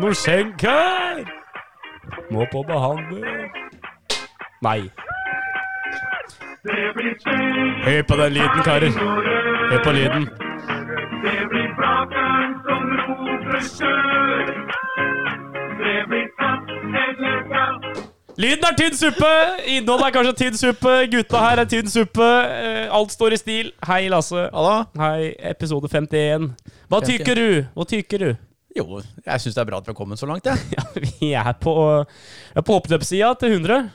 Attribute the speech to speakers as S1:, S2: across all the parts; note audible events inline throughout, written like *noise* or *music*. S1: noe skjenk her! Må på behandling. Nei. Hør på den lyden, karer. Hør på lyden.
S2: Det blir brakeren som roper kjør. Det blir katt eller katt.
S1: Lyden er tynn suppe! Innholdet er kanskje tynn suppe. Gutta her er tynn suppe. Eh, Alt står i stil. Hei, Lasse.
S3: Halla.
S1: Hei, episode 51. Hva tykker du? Hva tykker du? *laughs*
S3: Jo, jeg syns det er bra at vi har kommet så langt, jeg.
S1: Ja, vi er på, vi er på oppløpssida til 100.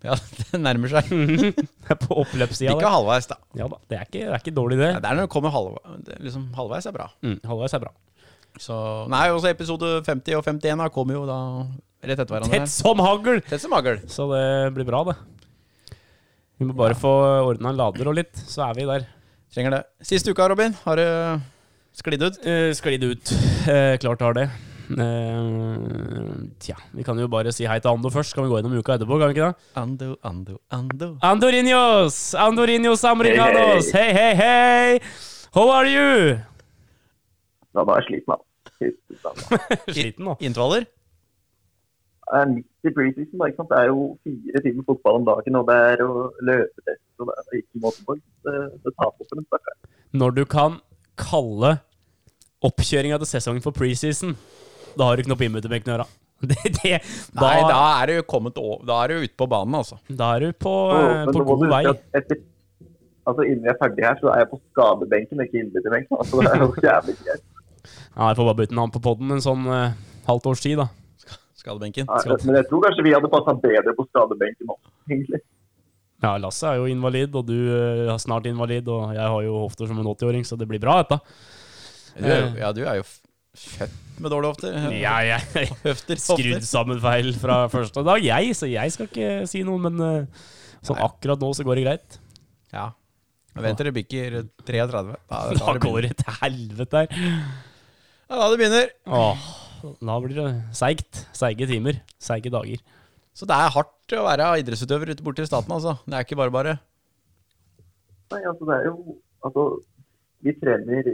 S3: *laughs* Ja, det nærmer seg.
S1: Vi er på oppløpssida.
S3: Mm. Ikke
S1: der.
S3: halvveis, da.
S1: Ja da, det er ikke, det er ikke dårlig, det.
S3: Nei, det er når du kommer halvveis, liksom halvveis er bra.
S1: Mm, halvveis er bra.
S3: Så Nei, også episode 50 og 51 da kommer jo da rett etter hverandre.
S1: Tett som hagl!
S3: Tett som hagl.
S1: Så det blir bra, det. Vi må bare få ordna en lader og litt, så er vi der.
S3: Trenger det. Siste uka, Robin, har det sklidd ut?
S1: Uh, Sklidd ut. Eh, klart har det. Eh, tja, vi kan jo bare si hei til Ando først. Kan vi gå gjennom uka etterpå? kan vi ikke det?
S3: Ando, ando, ando.
S1: Andorinhos! Andorinhos americanos! Hei, hei, hei! How are you?
S4: *laughs* Da var jeg sliten, da. Fy faen, da.
S1: Sliten nå.
S3: Intervaller?
S4: Det er midt i preseason, da. Ikke sant? Det er jo fire timer fotball om dagen, og det er jo løpetest, og det er ikke måte på. Det, det tar på for en stakkar.
S1: Når du kan kalle oppkjøringa til sesongen for preseason, da har du ikke noe pinnmøte med knøra. *laughs* Det, det, da,
S3: Nei, da
S1: da.
S3: er du kommet over Da er du ute på banen, altså.
S1: er du på,
S4: Og-
S1: eh,
S4: men
S1: på
S4: nå må du
S1: god vei.
S4: huske at Etter, altså, innen vi er ferdig her, så er jeg på skadebenken, ikke innbytterbenken. Altså, det er jo jævlig greit.
S1: Ja, jeg får bare bytte navn på poden en sånn eh, halvt års tid, da.
S3: Skadebenken.
S4: Ja, Men jeg tror kanskje vi hadde passa bedre på skadebenken nå, egentlig.
S1: Ja, Lasse er jo invalid, og du eh, er snart invalid, og jeg har jo hofter som en 80-åring, så det blir bra, dette.
S3: Du er, jo- ja, du er jo f- født med dårlige hofter.
S1: Jeg er
S3: Høfter,
S1: skrudd
S3: *laughs* hofter.
S1: sammen feil fra første dag, jeg, så jeg skal ikke si noe, men eh, sånn akkurat nå så går det greit.
S3: Ja. Vent til det bikker 33. Da,
S1: Da går det til helvete her.
S3: Ja, da det begynner.
S1: Åh, da blir det seigt. Seige timer. Seige dager.
S3: Så det er hardt å være idrettsutøver ute borte i staten, altså. Det er ikke bare bare.
S4: Nei, altså, det er jo Altså, vi trener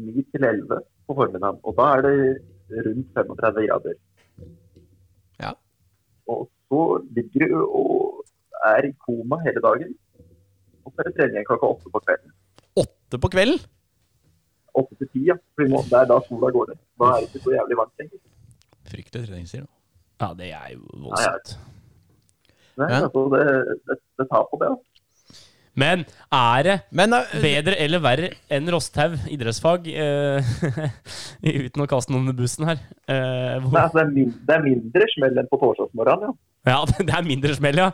S4: 9 til 11 på formiddagen, og da er det rundt 35 grader.
S3: Ja.
S4: Og så ligger du og er i koma hele dagen. Og så er det trening igjen klokka åtte på kvelden.
S3: Åtte på kvelden?
S4: Åtte til ti, ja. For vi må- det er da sola går ned. Da er det ikke så jævlig varmt lenger.
S3: Fryktelig treningstid. nå.
S1: Ja, det er jo voldsomt.
S4: Nei,
S3: Ja.
S4: altså, det, det, det tar på det. Altså.
S1: Men er det
S3: Men eh,
S1: bedre eller verre enn Rosthaug idrettsfag? Eh, *laughs* uten å kaste noen under bussen her. Eh, hvor,
S4: Nei, altså, det, er min, det er mindre smell enn på torsdagsmorgenen, ja.
S1: ja, *laughs* det er mindre smell, ja.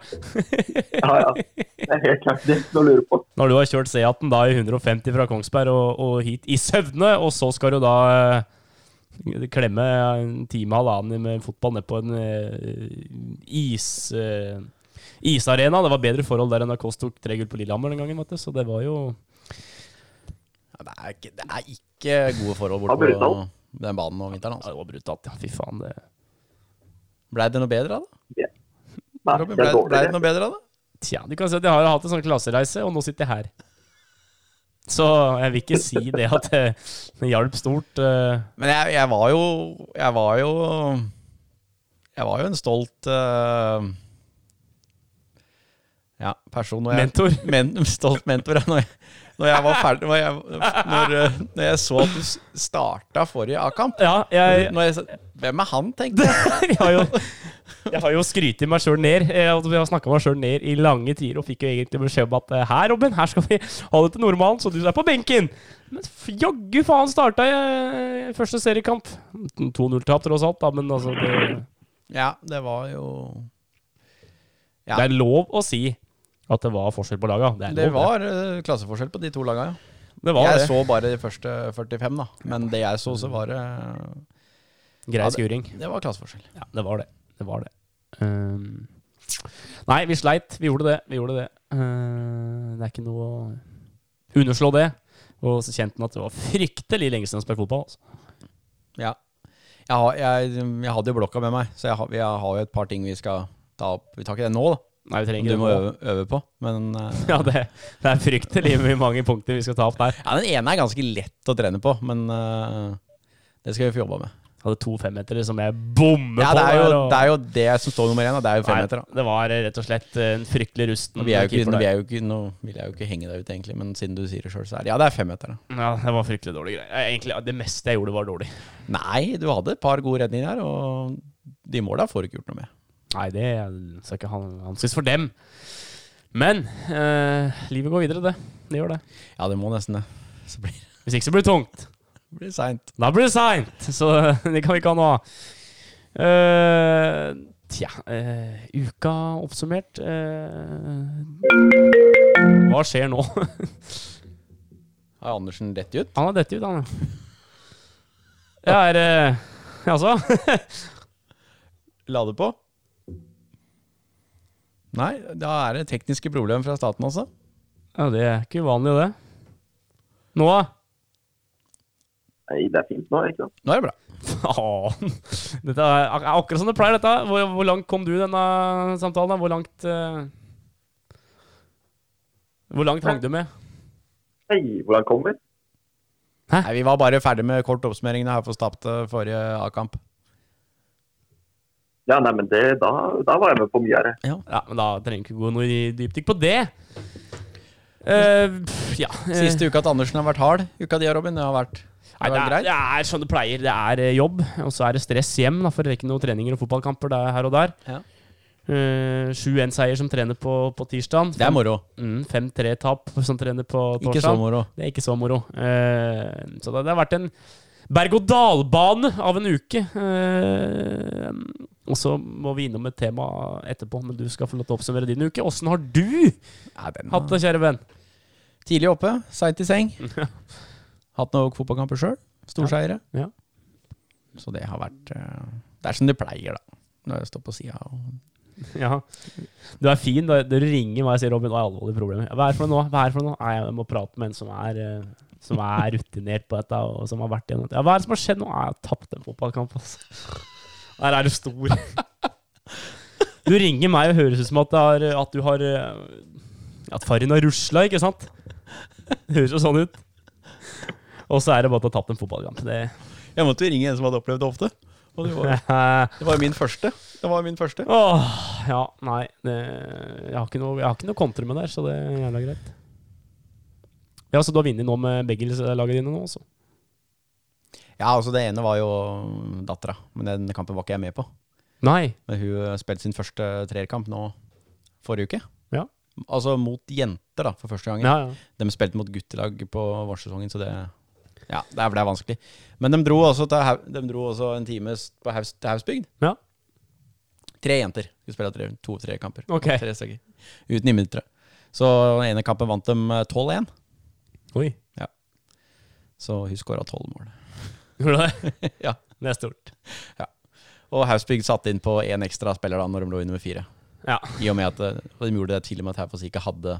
S1: *laughs*
S4: Ja, ja. Det er helt klart det er ikke noe å lure på.
S1: Når du har kjørt C18 da i 150 fra Kongsberg og, og hit i søvne, og så skal du da eh, klemme en time halvannen med fotball ned på en eh, is, eh, isarena. Det var bedre forhold der enn da Kåss tok tre gull på Lillehammer den gangen, vet du. Så det var jo
S3: ja, det, er ikke, det er ikke gode forhold
S4: Ja,
S3: borte på
S4: brutal.
S3: den banen om vinteren.
S1: ja,
S3: Altså.
S1: det var brutalt. Ja, fy faen. Det.
S3: Blei det noe bedre av det?
S4: Nei,
S3: Robin,
S4: det
S3: blei
S4: er
S3: blei
S4: dårligere.
S3: det noe bedre av det?
S1: Tja, du kan si at jeg har hatt en sånn klassereise, og nå sitter jeg her. Så jeg vil ikke si det at det, det hjalp stort. eh.
S3: Men jeg, jeg var jo Jeg var jo Jeg var jo en stolt eh, ja, person når jeg,
S1: Mentor.
S3: *laughs* Men, stolt mentor. ja, Når jeg, når jeg var ferdig Når jeg, når, eh, når jeg så at du s- starta forrige A-kamp
S1: Ja, jeg,
S3: når jeg, sa- Hvem er han, tenkte jeg.
S1: Jeg har jo, jeg har jo skrytt meg sjøl ned. eh, og Jeg har snakka meg sjøl ned i lange tider og fikk jo egentlig beskjed om at eh, her, Robin, her skal vi ha det til normalen, så du er på benken. Men f- jaggu faen starta jeg eh, første seriekamp. 2-0-tap tross alt, da, men altså det,
S3: Ja, det var jo Ja.
S1: det er lov å si at det var forskjell på laga. Det, er
S3: Det
S1: lov,
S3: var eh, klasseforskjell på de to laga, ja.
S1: det var
S3: jeg
S1: det.
S3: så bare de første 45, da. Men det jeg så, så var det
S1: Grei skuring.
S3: Det var klasseforskjell.
S1: Ja, det var det. Det var det. Ehm, nei, vi sleit. Vi gjorde det. Vi gjorde det. Ehm, det er ikke noe å underslå det. Og så kjente han at det var fryktelig lenge siden han spilte fotball. Altså.
S3: Ja. Jeg, har, jeg, jeg hadde jo blokka med meg, så jeg har, vi har jo et par ting vi skal ta opp. Vi tar ikke det nå, da.
S1: Nei, vi
S3: Som
S1: trenger
S3: du
S1: det
S3: må
S1: nå.
S3: øve, øve på. Men eh,
S1: *laughs* Ja, det, det er fryktelig mye mange punkter vi skal ta opp der.
S3: ja, den ene er ganske lett å trene på, men eh, det skal vi få jobba med.
S1: Hadde to femmetere som jeg bommer
S3: Ja,
S1: på.
S3: det er,
S1: der,
S3: jo,
S1: og-
S3: det er jo det som står nummer én, da. det er jo
S1: Nei,
S3: femmeter. da.
S1: Det var eh, rett og slett eh, en fryktelig rusten
S3: Og Vi er jo ikke,
S1: keeper der.
S3: vi er jo ikke, nå vil jeg jo ikke henge deg ut, egentlig, men siden du sier det sjøl, så er det Ja, det er femmeter, da.
S1: Ja, det var fryktelig dårlige greier. Eh, Egentlig, Det meste jeg gjorde, var dårlig.
S3: Nei, du hadde et par gode redninger her, og de måla får du ikke gjort noe med.
S1: Nei, det skal ikke han- anses for dem. Men eh, livet går videre, det. Det gjør det.
S3: Ja, det må nesten det. *laughs* Så blir
S1: Hvis ikke så blir det tungt.
S3: blir det seint.
S1: Da blir det seint! Så *laughs* det kan vi ikke ha noe av. Eh, tja eh, Uka oppsummert. eh, hva skjer nå? *laughs*
S3: Har Andersen rett ut?
S1: Han har dette ut, han. ja. Jeg er eh, *laughs* Altså?
S3: Lade på? Nei, da er det tekniske problemer fra staten, altså.
S1: Ja, det er ikke uvanlig, det. Noah?
S4: Nei, det er fint nå, ikke sant?
S3: Nå er det bra.
S1: Faen! Dette er ak er akkurat som det pleier, dette. Hvor, hvor langt kom du i denne samtalen? da? Hvor langt eh, Hvor langt hang du med?
S4: Hei, hvordan kommer?
S3: Nei, Vi var bare ferdig med kort oppsummering da Høyfoss tapte eh, forrige A-kamp.
S4: Ja, nei, men det, da, da var jeg med på mye her. jeg.
S1: Ja, men da trenger vi ikke gå noe i dypdykk på det. Eh, pff, ja. eh,
S3: Siste uka til Andersen har vært hard. Uka di, Robin, det har vært, det
S1: nei,
S3: har
S1: det,
S3: vært
S1: er,
S3: greit.
S1: det er sånn det pleier. Det er eh, jobb, og så er det stress hjem. Da, for det er ikke noen treninger og fotballkamper det er her og der.
S3: Ja.
S1: Eh, 7-1-seier som trener på, på tirsdag.
S3: Det er moro.
S1: Mm, 5-3-tap som trener på torsdag.
S3: Ikke så moro.
S1: Det er ikke så moro. Eh, så det, det har vært en berg-og-dal-bane av en uke. Eh, og så må vi innom et tema etterpå, men du skal få lov til å oppsummere din uke. Åssen har du
S3: Nei, den
S1: hatt det, kjære venn?
S3: Tidlig oppe, seint
S1: *laughs*
S3: i seng. Hatt noen fotballkamper sjøl. Storseiere.
S1: Ja.
S3: Så det har vært eh, Det er som det pleier, da. Når jeg står på sida og
S1: Ja. Du er fin. Du, du ringer meg og sier Robin, nå har jeg alvorlige problemer. Hva er det for noe nå? Hva er det for noe? Nei, jeg må prate med en som er, eh, som er rutinert på dette, og som har vært igjennom dette. Ja, hva er det som har skjedd nå? Nei, jeg har tapt en fotballkamp, altså. Der er du stor. Du ringer meg og høres ut som at, det har, at du har eh, At faren har rusla, ikke sant? Det høres jo sånn ut. Og så er det bare at du har tapt en fotballkamp. Det,
S3: Jeg måtte jo ringe en som hadde opplevd det ofte. Og det var,
S1: *laughs*
S3: det var jo min første. Det var min første.
S1: Åh, ja, nei det, jeg, har ikke noe, jeg har ikke noe kontra med der, så det er jævla greit. Ja, Så du har vunnet nå med begge lagene dine nå, altså?
S3: Ja, altså Det ene var jo dattera, men den kampen var ikke jeg med på.
S1: Nei.
S3: Men hun eh, spilte sin første treerkamp nå forrige uke.
S1: Ja.
S3: Altså mot jenter, da, for første gangen.
S1: Ja, ja.
S3: De spilte mot guttelag på vårsesongen, så det Ja, det ble vanskelig. Men de dro også, til, Hau- de dro også en time s- på Haus, til Hausbygd.
S1: ja.
S3: Tre jenter. Hun spiller tre, to-tre kamper.
S1: Ok.
S3: Tre stykker. Uten innbyttere. Så den ene kampen vant de eh, 12-1.
S1: Oi.
S3: Så hun skåra tolv mål.
S1: *laughs*
S3: *laughs*
S1: Gjorde du det? *laughs*
S3: ja.
S1: Det er stort.
S3: Og Hausbygd satte inn på én ekstra spiller da når de lå i nummer fire.
S1: Ja.
S3: I og med at eh, og de gjorde det til og med at Haufoss ikke hadde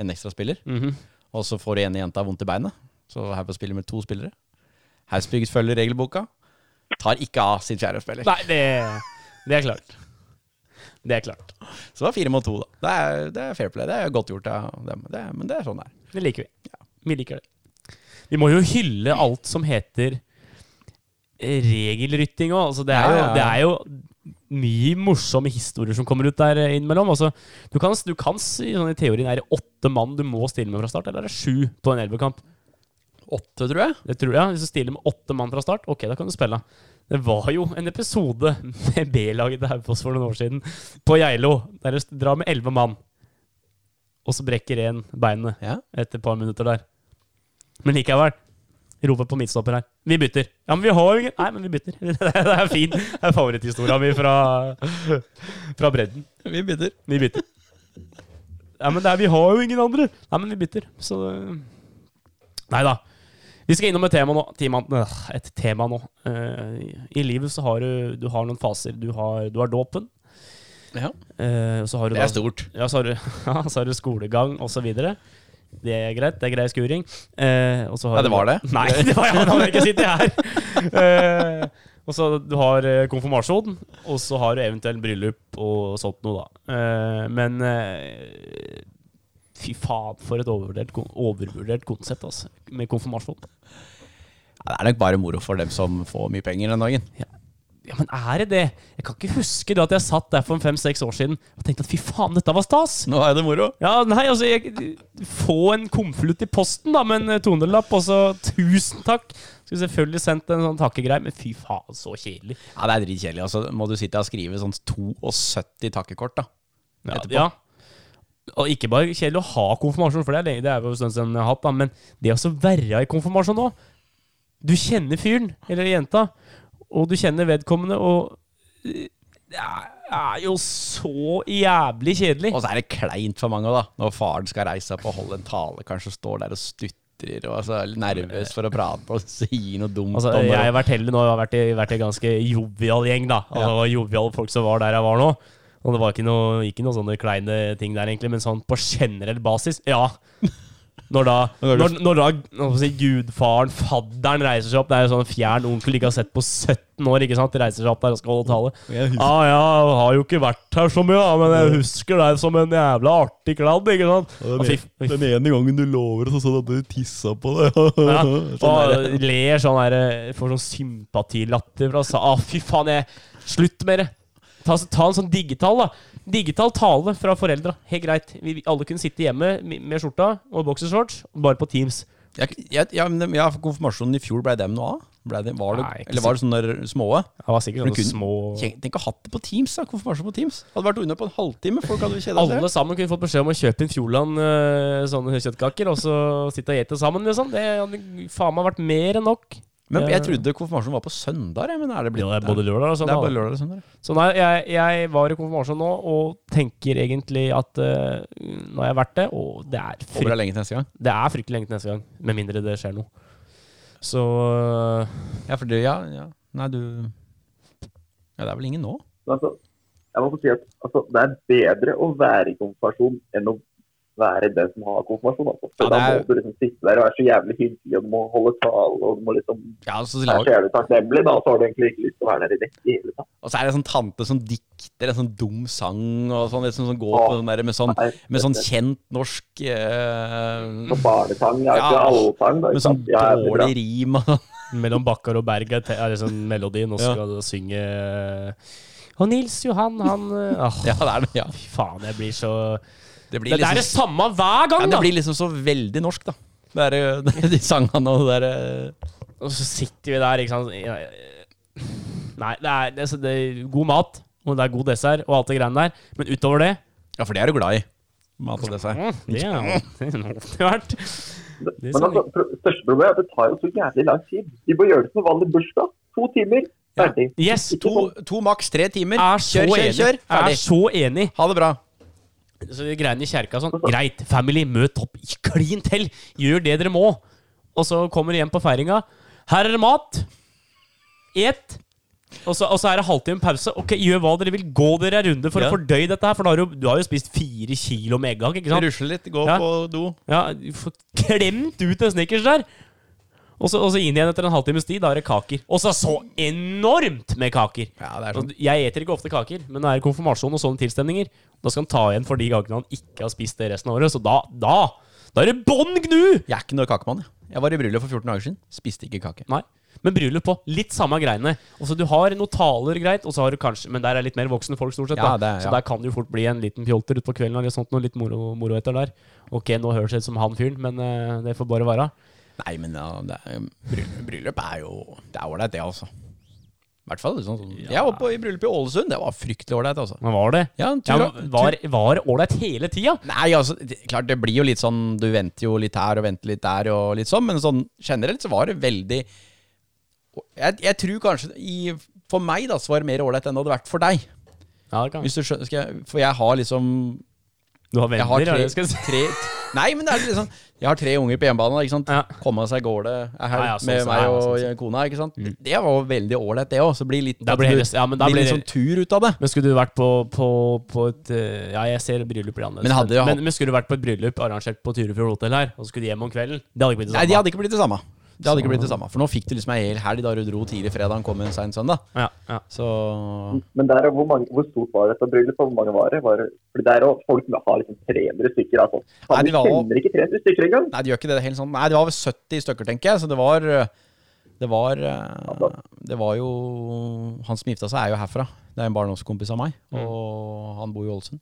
S3: en ekstra spiller.
S1: Mhm.
S3: Og så får ene jenta vondt i beinet, så Haufoss spiller med to spillere. Hausbygd følger regelboka. Tar ikke av sin fjerde spiller.
S1: Nei, det, det er klart. Det er klart.
S3: Så det var fire mot to, da. Det er, det er fair play. Det er godt gjort av dem. Det, er- men det er sånn det er.
S1: Det liker vi. Vi liker det. Vi må jo hylle alt som heter regelrytting òg. Altså, det, er
S3: Ja,
S1: jo-
S3: ja, ja.
S1: det er jo mye morsomme historier som kommer ut der innimellom. Altså, du kan, du kan si sånn i teorien er det åtte mann du må stille med fra start, eller er det sju på en elvekamp?
S3: Åtte, tror jeg.
S1: Det tror jeg. Hvis du stiller med åtte mann fra start, ok, da kan du spille. Det var jo en episode med B-laget til Haufoss for noen år siden, på Geilo, der du drar med elleve mann, og så brekker én beinet
S3: Ja.
S1: etter et par minutter der. Men likevel. Roper på midtstopper her. Vi bytter. Ja, men vi har jo ingen Nei, men vi bytter. *laughs* Det er fin. Det er favoritthistoria mi fra, fra bredden.
S3: Vi bytter.
S1: Vi bytter. Ja, men det er, vi har jo ingen andre. Nei, men vi bytter. Så eh, Nei da. Vi skal innom et tema nå. Tema, øh, et tema nå. Eh, I livet så har du, du har noen faser. Du har, du har dåpen.
S3: Ja.
S1: eh, og så har du
S3: Det
S1: da-
S3: er stort.
S1: ja, så har du, *laughs* ja, så har du skolegang og så videre. Det er greit. Det er grei skuring. Eh, og så har
S3: Ja, det
S1: du-
S3: var det.
S1: *laughs* Nei, det var jeg, da må jeg ikke sitte
S3: *laughs*
S1: her. Eh, og så du har eh, konfirmasjon, og så har du eventuelt bryllup og sånt noe, da. Eh, men eh, fy faen, for et overvurdert, kon- overvurdert konsept, altså. Med konfirmasjon.
S3: Ja, Ja, det er nok bare moro for dem som får mye penger den dagen.
S1: Ja, men er det det? Jeg kan ikke huske det at jeg satt der for fem-seks år siden og tenkte at fy faen, dette var stas.
S3: Nå er det moro.
S1: Ja, nei, altså jeg, Få en konvolutt i posten, da, med en 200-lapp, og så tusen takk. Skulle selvfølgelig sendt en sånn takkegreie, men fy faen, så kjedelig.
S3: Ja, Det er dritkjedelig. Og så må du sitte og skrive sånn 72 takkekort, da.
S1: Ja,
S3: Etterpå.
S1: ja. Og ikke bare kjedelig å ha konfirmasjon, for det er, lenge, det er jo en stund siden jeg har hatt, da, men det å så være i konfirmasjon nå Du kjenner fyren, eller jenta, og du kjenner vedkommende, og eh, Det er- er jo så jævlig kjedelig.
S3: Og så er det kleint for mange, da. Når faren skal reise seg opp og holde en tale, kanskje står der og stutrer og altså, er litt nervøs for å prate og *laughs* sier noe dumt.
S1: Altså,
S3: om det.
S1: jeg har vært heldig nå, jeg har vært i, vært i en ganske jovial gjeng. da altså, Det var joviale folk som var der jeg var nå. Og det var ikke noe, ikke noe sånne kleine ting der, egentlig, men sånn på generell basis, ja. Når da,
S3: *laughs*
S1: når, når da hva skal jeg si, gudfaren, fadderen, reiser seg opp Det er jo sånn fjern onkel de ikke har sett på 17 år. ikke sant? De reiser seg opp der og skal holde tale.
S3: Mm. Jeg husker-
S1: Ja, ah, jeg har jo ikke vært her så mye, da, men jeg husker deg som en jævla artig kladd. ikke sant? Og fy- fy
S5: Den ene gangen du lover så sånn at du tissa på det. *laughs*
S1: ja.
S5: sånn er det.
S1: Og ler sånn der Får sånn sympatilatter fra sa, ah, Fy faen, jeg Slutt med det. Ta, ta en sånn digital, da. Digital tale fra foreldra. Helt greit. Vi, vi alle kunne sitte hjemme med med skjorta og boksershorts, bare på Teams.
S3: Jeg, jeg, ja, men dem- ja, for konfirmasjonen i fjor, blei dem noe av? Ble det, var det,
S1: Nei, ikke
S3: eller var det sånne der små?
S1: Det var sikkert
S3: Men
S1: sånne
S3: kunne-
S1: små
S3: Tenk tenk å ha hatt det på Teams, da. Konfirmasjon på Teams. Hadde vært unna på en halvtime. Folk hadde jo kjeda seg.
S1: Alle sammen kunne fått beskjed om å kjøpe inn Fjordland eh, sånne kjøttkaker, og så sitte og gjete sammen, liksom. Det hadde faen meg vært mer enn nok.
S3: Men jeg trodde konfirmasjonen var på søndag, jeg, men er det blitt
S1: Ja, det er både lørdag og
S3: Det er
S1: søndag.
S3: bare lørdag og søndag.
S1: Så nei, jeg, jeg var i konfirmasjon nå og tenker egentlig at eh, nå har jeg vært det, og det er,
S3: Håper det
S1: frykt,
S3: er lenge til neste gang.
S1: det er fryktelig lenge til neste gang. Med mindre det skjer noe. Så eh,
S3: Ja, for det, ja, ja. Nei, du Ja, det er vel ingen nå?
S4: Men altså, jeg må få si at altså, det er bedre å være i konfirmasjon enn å være den som har konfirmasjon. Altså.
S3: Ja,
S4: For
S3: det er-
S4: Da må du liksom sitte der og være så jævlig hyggelig, og du må holde tale, og du må liksom
S3: Ja, og så
S4: være så
S3: lager-
S4: jævlig takknemlig. Da så har du egentlig ikke lyst til å være der i det hele tatt.
S3: og så er det en sånn tante som dikter en sånn dum sang og sånn, liksom, som går på sånn der med sånn,
S4: Nei,
S3: med sånn kjent norsk eh,
S4: på barnesang, ja, ikke
S3: Ja.
S4: allsang. da, ikke
S3: Med sånn
S4: sant? Ja, det blir bra.
S3: dårlig rim og sånn. *laughs*
S1: mellom Bakkar og Berg er, te- er liksom melodien, og så
S3: Ja.
S1: skal du synge eh, Og Nils Johan, han eh, ah,
S3: Ja, det er det. Ja.
S1: Fy faen, jeg blir så
S3: Det blir
S1: Det, det er det
S3: liksom,
S1: samme hver gang,
S3: ja,
S1: da!
S3: det blir liksom så veldig norsk, da. Det er jo- det er *laughs* de sangene og det eh. derre
S1: Og så sitter vi der, ikke sant Ja, ja. Nei, det er, det, er- det er god mat, og det er god dessert, og alt det greiene der, men utover det
S3: Ja, for det er du glad i. Mat og dessert.
S1: Mm, Det er jo- *laughs* det er jo alltid vært. Det
S3: liksom.
S4: Men
S1: skal
S4: altså, pro- største problemet er at det tar jo så jævlig lang tid. Vi må gjøre det som en vanlig bursdag. To timer, ferdig.
S1: Yes,
S4: Ikke
S3: To,
S4: sånn,
S3: to maks tre timer.
S1: er så
S3: Kjør, kjør,
S1: enig.
S3: kjør.
S1: Er
S3: Ferdig.
S1: så enig.
S3: Ha det bra.
S1: Så de greiene i kjerka sånn Greit, family, møt opp. Klin til! Gjør det dere må. Og så kommer de hjem på feiringa. Her er det mat. Et. Og så, og så er det halvtime pause. Ok, Gjør hva dere vil. Gå dere en runde for
S3: Ja.
S1: å fordøye dette her. For da har du, du har jo spist fire kilo med eggehakk. ikke sant?
S3: Rusle litt, gå
S1: Ja.
S3: på do.
S1: Ja, du får klemt ut en snickers der. Og så, og så inn igjen etter en halvtimes tid, da er det kaker. Og så så enormt med kaker!
S3: Ja, det er sånn
S1: Og sånn, Jeg eter ikke ofte kaker, men det er konfirmasjon og sånne tilstemninger. Da skal han ta igjen for de gangene han ikke har spist det resten av året. Så da, da, da er det bånn gnu!
S3: Jeg er ikke noe kakemann. Jeg. jeg var i bryllup for 14 dager siden. Spiste ikke kake.
S1: Nei. Men bryllup på litt samme greiene. Altså, du har noen taler, greit, og så har du kanskje Men der er litt mer voksne folk, stort sett. Da.
S3: Ja, det er-
S1: Så
S3: ja.
S1: der kan det jo fort bli en liten pjolter utpå kvelden eller sånt, noe litt moro, moro etter der. Ok, nå høres det ut som han fyren, men eh, det får bare være.
S3: Nei, men ja, det er, bryllup, bryllup er jo Det er ålreit, det, altså. I hvert fall sånn som Jeg var på, i bryllup i Ålesund. Det var fryktelig ålreit, altså.
S1: Men var det?
S3: Ja, en tur,
S1: Ja,
S3: tur-
S1: men var, var det ålreit hele tida?
S3: Nei, altså, det, klart det blir jo litt sånn Du venter jo litt her og venter litt der og litt sånn, men sånn generelt så var det veldig Jeg, jeg tror kanskje i, For meg, da, så var det mer ålreit enn det hadde vært for deg.
S1: Ja, det kan
S3: Hvis du skjønner, skal jeg, For jeg har liksom
S1: Du har
S3: Jeg har
S1: venner, ja,
S3: tre,
S1: det skal jeg si.
S3: tre t- Nei, men det er liksom Jeg har tre unger på hjemmebane, da, ikke sant.
S1: Ja.
S3: Komme seg går det er her
S1: Ja, ja, sånn
S3: med
S1: sett,
S3: meg
S1: ja,
S3: og
S1: sånn
S3: kona, ikke sant. Det var jo veldig ålreit, det òg. Så blir litt
S1: Da blir det- ja, men da
S3: blir litt
S1: blir
S3: sånn tur ut av det.
S1: Men skulle du vært på, på, på et eh, Ja, jeg ser bryllup blir annerledes.
S3: Men hadde jo hatt-
S1: men, men skulle du vært på et bryllup arrangert på Turefjord hotell her, og så skulle du hjem om kvelden Det hadde ikke blitt det
S3: Nei,
S1: samme.
S3: det hadde ikke blitt det samme. Det hadde ikke blitt det samme For nå fikk du liksom ei hel helg da du dro tidlig fredag og kom en sein søndag.
S1: ja, ja.
S3: Så
S4: Men der, hvor, mange, hvor stort var dette bryllupet? Hvor mange var det? Var det for det er jo folk som har liksom 300 stykker. Altså.
S3: Nei,
S4: Faen,
S3: de
S4: vi
S3: var-
S4: kjenner ikke 300 stykker engang.
S3: Nei, det gjør ikke det, det er helt sånn Nei, det var vel 70 stykker, tenker jeg. Så det var eh, Det var, eh, det var jo Han som gifta seg, er jo herfra. Det er en barndomskompis av meg, og han bor i Ålesund.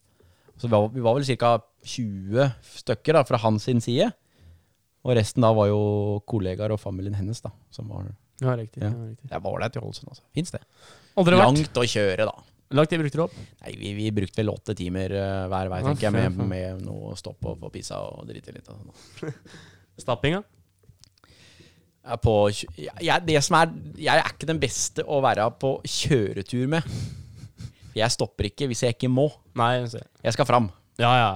S3: Så vi var, vi var vel ca. 20 stykker da, fra hans sin side. Og resten da var jo kollegaer og familien hennes. da som var,
S1: Ja, riktig.
S3: Ja.
S1: Ja. riktig.
S3: Det var ålreit i Ålesund, altså. Fins det.
S1: Aldri vært.
S3: Langt å kjøre, da.
S1: Langt jeg brukte det opp.
S3: Nei, vi, vi brukte vel åtte timer eh, hver vei,
S1: Ja,
S3: tenker jeg,
S1: fair,
S3: med,
S1: fair.
S3: med noe stopp og få pissa og drite litt. Og sånn.
S1: Stappinga.
S3: Jeg er på, kjø- jeg, jeg- det som er, jeg er ikke den beste å være på kjøretur med. Jeg stopper ikke hvis jeg ikke må.
S1: Nei, se.
S3: Jeg skal fram.
S1: Ja, ja.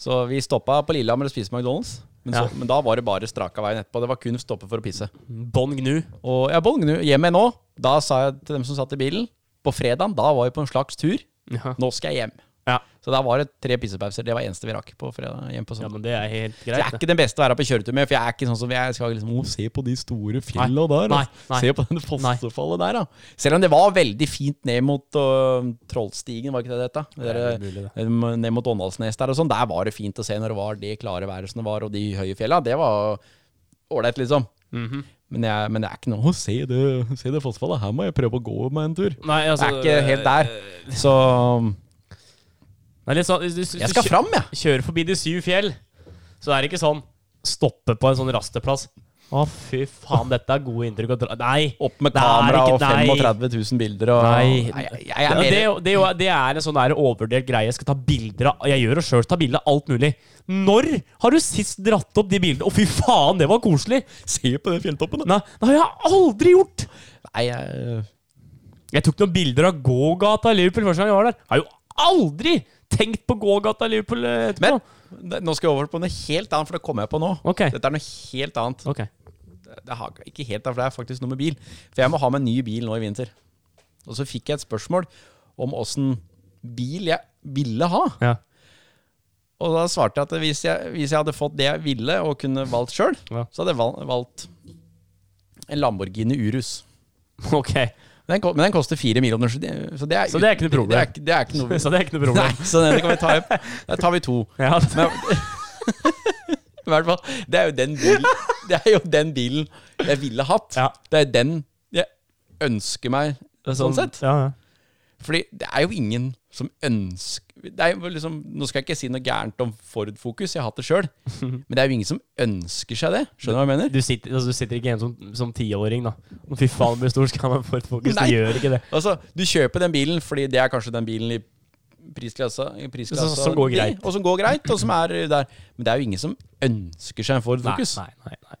S3: Så vi stoppa på Lillehammer og spiste McDonald's. Men, så,
S1: Ja.
S3: men da var det bare straka veien etterpå. Det var kun stoppe for å pisse.
S1: Bånn gnu.
S3: Og jeg bong nå hjem igjen nå. Da sa jeg til dem som satt i bilen På fredagen, da var vi på en slags tur.
S1: Ja.
S3: Nå skal jeg hjem.
S1: Ja.
S3: Så da var det tre pissepauser. Det var eneste vi rakk på fredag. Hjem på
S1: ja,
S3: søndag.
S1: men det er helt
S3: Så jeg er
S1: greit. det.
S3: ikke den beste å være på kjøretur med, for jeg er ikke sånn som jeg skal liksom «Å, se på de store fjella der.
S1: Nei,
S3: da.
S1: nei,
S3: se på den fossefallet der, da. Selv om det var veldig fint ned mot øh, Trollstigen, var ikke det dette? Det
S1: Det er
S3: der,
S1: mulig, det.
S3: øh, ned mot Åndalsnes der og sånn. Der var det fint å se når det var det klare været som det var, og de høye fjella. Det var ålreit, liksom. men, jeg, men det er ikke noe å se det, se det fossefallet. Her må jeg prøve å gå meg en tur.
S1: Nei,
S3: Det
S1: altså,
S3: er ikke helt der. Så eh,
S1: Det er litt sånn, hvis, hvis,
S3: jeg skal fram, jeg.
S1: kjører forbi de syv fjell, så er det ikke sånn stoppe på en sånn rasteplass. Å, fy faen, dette er gode inntrykk å dra Nei!
S3: Opp med
S1: det er
S3: kamera
S1: ikke-
S3: og
S1: nei.
S3: 35 000 bilder og
S1: Nei.
S3: Nei, jeg, jeg er
S1: det,
S3: mer
S1: det, er jo- det, er jo- det er en sånn der overvurdert greie. Jeg skal ta bilder av Jeg gjør det sjøl, ta bilde av alt mulig. Når har du sist dratt opp de bildene? Å, fy faen, det var koselig!
S3: Se på den fjelltoppen,
S1: Nei, det har jeg aldri gjort!
S3: Nei, jeg,
S1: Jeg tok noen bilder av gågata i Liverpool første gang jeg var der. Har jo aldri tenkt på gågata i Liverpool eh,
S3: men
S1: etterpå.
S3: det- nå skal jeg over på noe helt annet, for det kommer jeg på nå.
S1: Ok.
S3: Dette er noe helt annet.
S1: Ok.
S3: Det har, ikke helt annet, for det er faktisk noe med bil. For jeg må ha meg en ny bil nå i vinter. Og så fikk jeg et spørsmål om åssen bil jeg ville ha.
S1: Ja. *laughs*
S3: Og da svarte jeg at hvis jeg, hvis jeg hadde fått det jeg ville, og kunne valgt sjøl,
S1: Ja.
S3: så hadde jeg val- valgt en Lamborghini Urus.
S1: Ok.
S3: Den, ko- men den koster fire millioner, så det, så det er,
S1: Så det er ikke noe problem.
S3: Det er, ikke- det er ikke noe
S1: Så *laughs* det er ikke noe problem.
S3: Nei, så den kan vi ta
S1: *laughs*
S3: opp. Da tar vi to.
S1: Ja, det-
S3: Men, I hvert fall, det er jo den bilen Det er jo den bilen jeg ville hatt.
S1: Ja.
S3: Det er den jeg ønsker meg, sånn sett.
S1: Ja, ja.
S3: Fordi det er jo ingen som ønsker det er jo liksom, Nå skal jeg ikke si noe gærent om Ford Fokus, jeg har hatt det
S1: *laughs*
S3: sjøl. Men det er jo ingen som ønsker seg det. Skjønner du hva jeg mener?
S1: Du sitter, altså, du sitter ikke hjemme som, som tiåring, da. Og fy faen, hvor stor skal man få et fokus?
S3: Nei.
S1: Du gjør ikke det.
S3: Altså, Du kjøper den bilen fordi det er kanskje den bilen i prisklassa, i prisklassa
S1: Som- som går
S3: di,
S1: greit.
S3: Og som går greit, og som er der. Men det er jo ingen som ønsker seg en Ford
S1: Nei,
S3: Fokus.
S1: nei, nei, nei, nei.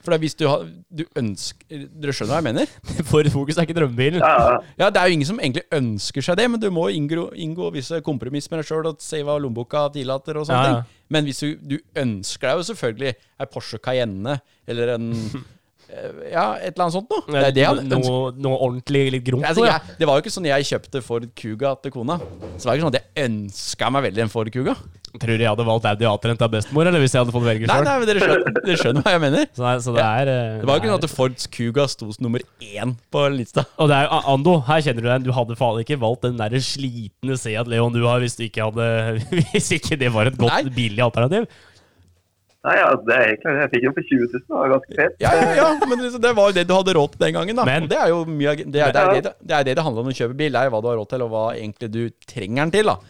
S3: For det er hvis du, har, du ønsker Dere skjønner hva jeg mener?
S1: *laughs* For et fokus er ikke drømmebilen.
S4: Ja, ja.
S3: Ja, Det er jo ingen som egentlig ønsker seg det, men du må inngå, inngå visse kompromiss med deg sjøl og se hva lommeboka tillater og sånne
S1: Ja, ja.
S3: ting. Men hvis du, du ønsker deg jo selvfølgelig en Porsche Cayenne eller en
S1: *laughs*
S3: eh, Ja, et eller annet sånt noe. Det er det han ønsker.
S1: noe, noe ordentlig litt gromt.
S3: Altså,
S1: ja.
S3: jeg, det var jo ikke sånn jeg kjøpte Ford Kuga til kona. Så det var ikke sånn at jeg ønska meg veldig en Ford Kuga.
S1: Tror du jeg hadde valgt Audi A3 av bestemor, eller hvis jeg hadde fått velge
S3: Nei,
S1: sjøl?
S3: nei, men dere skjønner, dere skjønner hva jeg mener.
S1: Så, det er- så det er eh,
S3: Det var jo ikke
S1: det
S3: sånn at Ford Kuga sto som nummer én på lista.
S1: er- Og det er jo A- Ando, her kjenner du den. Du hadde faen ikke valgt den derre slitne Seat Leon du har, hvis du ikke hadde *laughs* Hvis ikke det var et godt,
S3: Nei.
S1: billig alternativ.
S4: Nei, ja, det er helt klart. Jeg fikk den for 20 000, det var ganske fett.
S3: Ja, ja, ja, men liksom, det var jo det du hadde råd til den gangen. da
S1: Men-
S3: Og Det er jo mye, av- det, er, det, er det, det er det det handler om å kjøpe bil. Det er jo hva du har råd til, og hva egentlig du trenger den til. da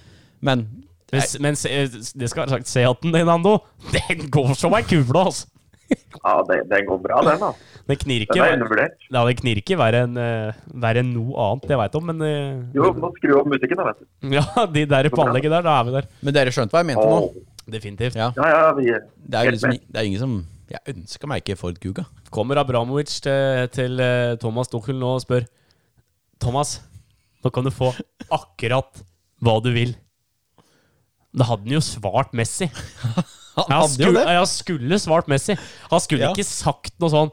S3: Men
S1: Men, men se- det skal være sagt, Seaten din, Ando, *laughs* den går som ei kule, altså.
S4: Ja, den, den går bra, den. da.
S1: Den knirker.
S4: Den er
S1: hver-
S4: undervurdert.
S1: Ja, det knirker verre enn eh, verre enn noe annet jeg veit om, men eh, *laughs*
S4: Jo, må skru opp musikken, da, vet du.
S1: Ja, de der på anlegget der, da er vi der.
S3: Men dere skjønte hva jeg mente nå?
S4: Åh.
S1: Definitivt.
S3: Ja.
S4: Ja, ja, vi
S3: Det er jo liksom, det er ingen som Jeg ønska meg ikke Ford Kuga.
S1: Kommer Abramovic til, til eh, Thomas Duchel nå og spør Thomas, nå kan du få akkurat hva du vil. Da hadde han jo svart Messi.
S3: Han
S1: Jeg
S3: hadde jo
S1: skulle,
S3: det.
S1: jeg skulle svart Messi. Han skulle
S3: Ja.
S1: ikke sagt noe sånn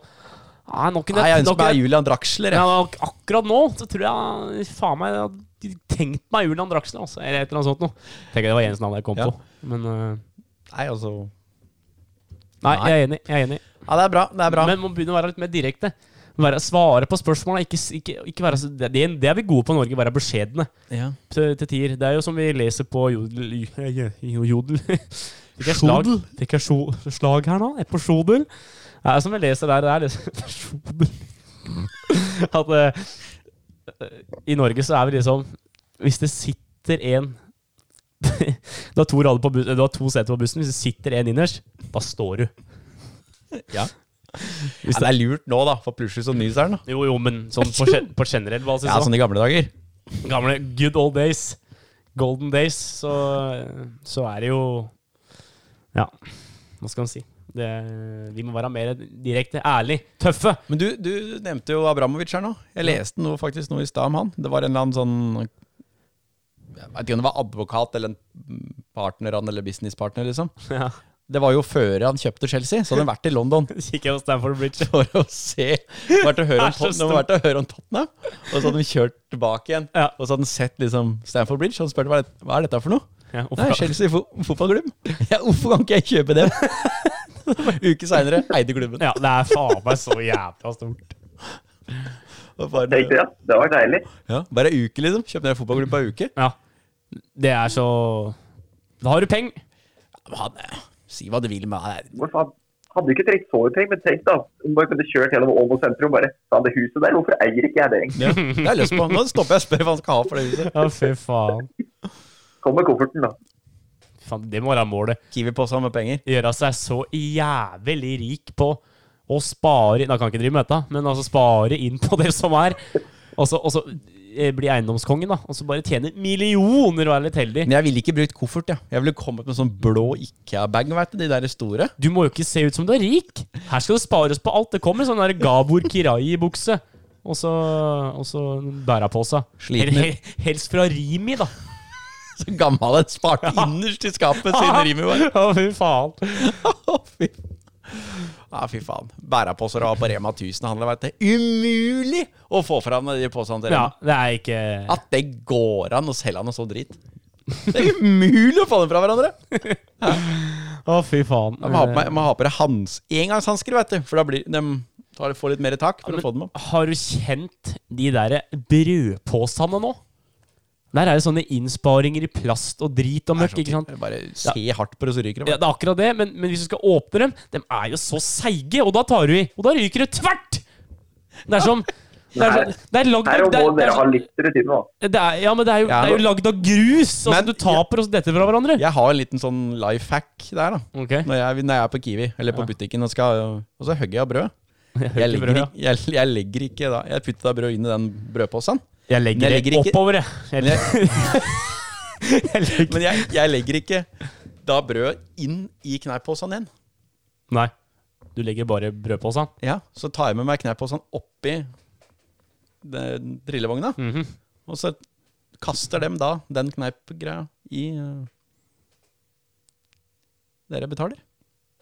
S1: Nei, nå kunne
S3: Nei, jeg
S1: nå
S3: ønsker
S1: kunne
S3: meg Julian Draxler.
S1: Ja, ak-
S3: Jeg.
S1: akkurat nå så tror jeg faen meg jeg hadde tenkt meg Julian Draxler, altså, eller et eller annet sånt noe. Tenker jeg det var eneste navn jeg kom
S3: Ja.
S1: på. Men eh,
S3: Nei, altså
S1: nei,
S3: Nei.
S1: jeg er enig. Jeg er enig.
S3: Ja, det er bra. det er bra
S1: Men må begynne å være litt mer direkte. Være, svare på spørsmåla. Ikke, s- ikke, ikke være, så- det, det det er vi gode på i Norge, være beskjedne
S3: ja.
S1: til, til tider. Det er jo som vi leser på Jodel jo- Jodel *laughs* Fikk jeg slag,
S3: Sjodel?
S1: Fikk jeg sjo- slag her nå? Et på Sjodel. Det er som jeg leser der, det er liksom *laughs* personer At eh, i Norge så er vi liksom Hvis det sitter en *laughs* Du har to, rader på bus- du har to seter på bussen. Hvis det sitter en innerst, da står du.
S3: Ja. ja, det er lurt nå, da, for plutselig så nyser den. da.
S1: Jo, jo, men sånn på, gen- på generell basis.
S3: Ja,
S1: da.
S3: sånn i gamle dager.
S1: Gamle good old days. Golden days. Så, så er det jo Ja, hva skal man si? Det, vi må være mer direkte ærlig. Tøffe!
S3: Men du, du nevnte jo Abramovic her nå. Jeg leste noe, faktisk noe i stad om han. Det var en eller annen sånn Jeg vet ikke om det var advokat eller en partner han, eller businesspartner, liksom.
S1: Ja.
S3: Det var jo før han kjøpte Chelsea, så hadde han vært i London *laughs*
S1: Kikker på Stanford Bridge.
S3: for å se vært og høre om,
S1: Det er så
S3: Tot- de hadde vært og høre om Tottenham. Og så hadde de kjørt tilbake igjen,
S1: Ja.
S3: og så hadde han sett liksom Stanford Bridge. Og han spurte hva, er det- hva er dette for noe.
S1: Ja, hvorfor-
S3: Nei, Chelsea fo fotballklubb. *laughs* Ja, hvorfor kan ikke jeg kjøpe det? *laughs* Uke seinere eide klubben.
S1: Ja, det er faen meg så jævla stort.
S3: Og bare-
S4: Tenkte jeg, ja, det var deilig.
S3: Ja, bare ei uke, liksom. Kjøpte jeg fotballklubb på ei uke.
S1: Ja. Det er så Da har du peng.
S3: Men han, eh, Si hva du vil, men han er-
S4: Hvor faen? Hadde ikke trengt så mye penger, men tenk da. Om man kunne kjørt gjennom Åbo sentrum bare faen, det huset der, hvorfor eier ikke jeg det egentlig?
S3: ja, det har jeg lyst på. Nå stopper jeg og spør hva han skal ha for det huset.
S1: Ja, fy faen.
S4: Kom med kofferten, da.
S1: faen. Det må være målet.
S3: Kiwi-posen med penger.
S1: Gjøre seg så jævlig rik på å spare Da kan jeg ikke drive med dette, men altså spare inn på det som er. Og så, og så eh, bli eiendomskongen, da. Og så bare tjene millioner og være litt heldig.
S3: Men jeg ville ikke brukt koffert, ja. Jeg ville kommet med en sånn blå Ikea-bag, vet du. De der store.
S1: Du må jo ikke se ut som du er rik! Her skal det spares på alt. Det kommer sånn der Gabor Kirai-bukse. Og så, og så bærepose.
S3: Sliten.
S1: Hel- hel- Helst fra Rimi, da.
S3: Så gammel en sparte innerst i skapet *laughs* siden Rimi var.
S1: *laughs* Å, fy faen.
S3: Å, fy. Ja, fy faen. Bæreposer og var på Rema 1000 handler, vet du. Umulig å få fram de posene til
S1: Ja,
S3: Rema.
S1: det er ikke
S3: At det går an å selge han og så drit. Det er umulig å få dem fra hverandre.
S1: Å, fy faen.
S3: Jeg må ha på, meg, jeg må ha på deg hans, engangshansker, vet du. For da blir de tar, får litt mer tak for å få dem opp.
S1: Har du kjent de der brødposene nå? Der er det sånne innsparinger i plast og drit og
S3: Det er
S1: møkk,
S3: sånn
S1: ikke sant?
S3: typ, Bare se hardt på det, så ryker det.
S1: Ja, det er akkurat det, men, men hvis du skal åpne dem, de er jo så seige, og da tar du i. Og da ryker det tvert! Det er som Det er, sånn, det er lagd
S4: Her
S1: av
S4: og
S1: det
S4: må
S1: er, det er,
S4: dere ha
S1: sånn-
S4: litt rutine, da.
S1: det er, Ja, men det er jo,
S3: Ja.
S1: det er jo lagd av grus! Altså,
S3: Men-
S1: du taper og så detter fra hverandre.
S3: Jeg har en liten sånn life hack der, da.
S1: Ok.
S3: Når, jeg, når jeg er på Kiwi eller på butikken og skal Og så hugger jeg av
S1: *laughs*
S3: brød. Jeg legger,
S1: brød, ja.
S3: ikke- jeg, jeg legger ikke da Jeg putter da brød inn i den brødposen.
S1: Jeg legger,
S3: Jeg legger
S1: det
S3: ikke-
S1: oppover, jeg.
S3: Men
S1: jeg.
S3: jeg,
S1: legger-
S3: men jeg, jeg legger ikke da brød inn i kneippposen igjen.
S1: Nei. Du legger bare brødposen.
S3: Ja, så tar jeg med meg kneippposen oppi den trillevogna.
S1: Mhm.
S3: Og så kaster dem da den kneipgreia i eh, Dere betaler?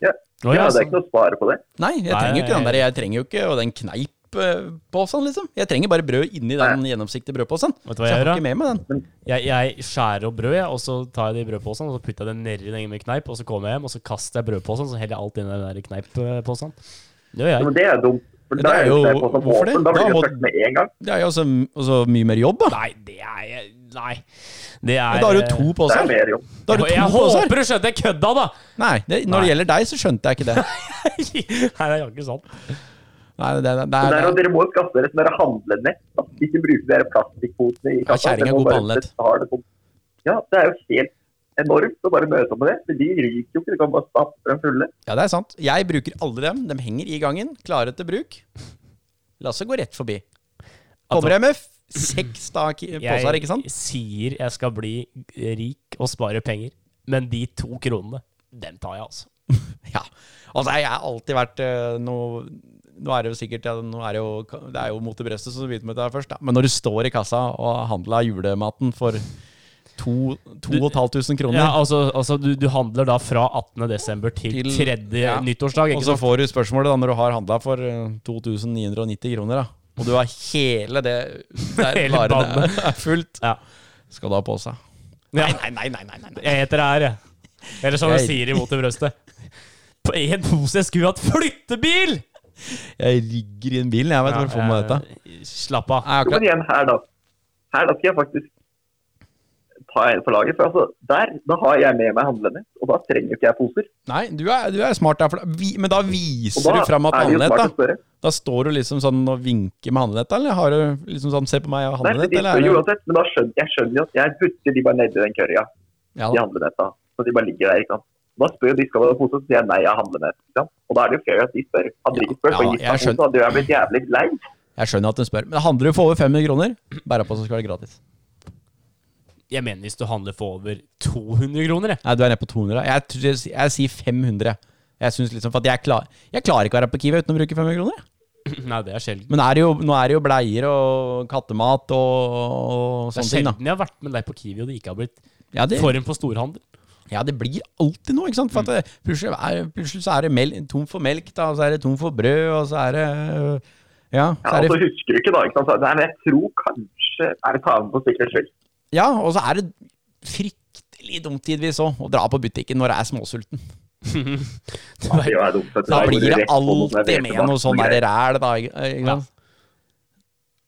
S4: Ja.
S1: Å,
S4: ja,
S1: ja,
S3: altså.
S4: det
S1: så-
S4: er ikke noe å spare på det.
S3: Nei, jeg
S1: Nei.
S3: trenger jo ikke den der. Jeg trenger jo ikke og den kneippposen, liksom. Jeg trenger bare brød inni den gjennomsiktige brødposen.
S1: Vet du
S3: Så
S1: hva
S3: jeg
S1: jeg
S3: har
S1: gjør,
S3: ikke med meg den.
S1: Jeg, jeg skjærer opp brød, jeg, og så tar jeg det i brødposen, og så putter jeg det nedi den med kneip, og så kommer jeg hjem, og så kaster jeg brødposen, så heller jeg alt inn i den der kneipposen. Det gjør
S4: Men
S1: jeg.
S4: det er dumt. For
S3: Det
S4: da
S3: er
S4: er jo
S3: jo-
S4: det på som
S3: hvorfor det?
S4: åpen, da
S3: Da
S4: blir det
S3: må-
S4: først med en gang.
S3: Det er jo også, også mye mer jobb, da.
S1: Nei, det er jeg Nei. Det er
S3: Men da har du to
S4: Det er
S3: poser.
S4: mer jobb.
S3: Da har du
S1: Jeg, jeg
S3: to poser.
S1: håper du skjønte jeg kødda,
S3: *laughs*
S1: da!
S3: Nei, det, når det gjelder deg, så skjønte jeg ikke det.
S1: Nei, det er jo ikke sant.
S3: Nei, det, det, det,
S4: Men det
S3: det,
S4: er, jo- dere må jo skaffe dere sånne der handlenett. Da. Ikke bruke de der plastikkpotene i kassa.
S3: kjerringa er
S4: Dere må
S3: god på
S4: bare
S3: handlenett.
S4: betale på- Ja, det er jo helt enormt å bare møte opp med det. For de ryker jo ikke, du kan bare stappe dem fulle.
S3: Ja, det er sant. Jeg bruker alle dem. De henger i gangen, klare til bruk. Lasse går rett forbi. Kommer jeg med f- seks da ki- poser, ikke sant?
S1: Altså-
S3: *laughs*
S1: Jeg sier jeg skal bli rik og spare penger, men de to kronene, dem tar jeg, altså.
S3: Ja. Altså, jeg har alltid vært eh, noe nå er det jo sikkert ja, nå er det, jo, det er jo mot i brøstet som begynte med dette her først, da. men når du står i kassa og handler julematen for to- to og et halvt tusen kroner,
S1: Ja, altså, altså du, du handler da fra 18. desember til,
S3: Til-
S1: 3.
S3: ja.
S1: nyttårsdag,
S3: og
S1: ikke
S3: så
S1: sant?
S3: får du spørsmålet da når du har handla for eh, 2990 kroner, da, og du har hele det *laughs*
S1: *laughs*
S3: der
S1: Hele
S3: varene
S1: bandet. *laughs*
S3: er fullt,
S1: Ja.
S3: *laughs* skal du ha pose.
S1: Ja.
S3: Nei, nei, nei, nei, nei, nei.
S1: Jeg heter det her, jeg. Eller som de
S3: Jeg-
S1: sier imot i brøstet. På én pose jeg skulle hatt flyttebil!
S3: Jeg rigger i en bil, jeg vet hvor jeg får med dette.
S1: eh, Slapp av.
S3: Nei,
S4: Jo, men
S3: akkurat.
S4: igjen, her da. Her da skal jeg faktisk ta en for laget. For altså, der, da har jeg med meg handlenett, og da trenger ikke jeg poser.
S3: Nei, du er, du er smart der, for da, vi, men da
S4: Og
S3: viser
S4: da
S3: du fram at
S4: er det jo
S3: handlenett,
S4: smart å
S3: da.
S4: spørre.
S3: Da står du liksom sånn og vinker med handlenett, da, eller har du liksom sånn 'se på meg, jeg har
S4: Nei, for
S3: handlenett',
S4: de
S3: eller?
S4: spør jo
S3: er det-
S4: uansett, men da skjønner jeg skjønner jo at jeg butter de bare nedi den kørja,
S3: Ja,
S4: de
S3: da.
S4: handlenetta. Så de bare ligger der, ikke sant. Da spør jo de skal du ha pose, så sier jeg nei, jeg har handlenett. Ikke sant? Og da er det jo fair at de spør. Hadde de ikke spurt,
S3: Ja,
S4: for
S3: jeg
S4: gitt meg pose,
S3: skjønner.
S4: hadde jeg blitt jævlig lei.
S3: Jeg skjønner at den spør. Men handler du for over 500 kroner, bæra på så skal det gratis.
S1: Jeg mener hvis du handler for over 200 kroner, jeg.
S3: Nei, du er nede på 200. da. Jeg, tror jeg, jeg sier 500. jeg. Jeg synes liksom, for at jeg, klar, jeg klarer ikke å være på Kiwi uten å bruke 500 kroner. jeg.
S1: Nei, det er sjelden.
S3: Men er det jo, nå er det jo bleier og kattemat og, og
S1: Det er
S3: sånne ting, da.
S1: sjelden jeg har vært med deg på Kiwi og det ikke har blitt
S3: Ja det,
S1: form for storhandel.
S3: ja, det blir alltid noe, ikke sant? For at det, plutselig, er, plutselig så er det mel tom for melk, da, og så er det tom for brød, og så er det øh, Ja,
S4: Ja,
S3: så
S4: og
S3: er
S4: så
S3: det,
S4: husker du ikke da, ikke sant. Så, Nei, men jeg tror kanskje Er det ta med på
S3: *laughs*
S4: sikkerhets skyld?
S3: ja, og så er det fryktelig dumt tidvis òg å dra på butikken når jeg er småsulten.
S1: Du
S4: Ja, det
S1: vet,
S4: er dumt, vet
S3: Da
S4: du. Da går
S3: blir
S4: du
S3: det
S4: rett på noen som er
S3: alltid
S4: vet
S3: med
S4: om at
S3: noe sånn
S4: det
S3: der
S4: er-
S3: ræl, da. ikke- øh, Ikke sant?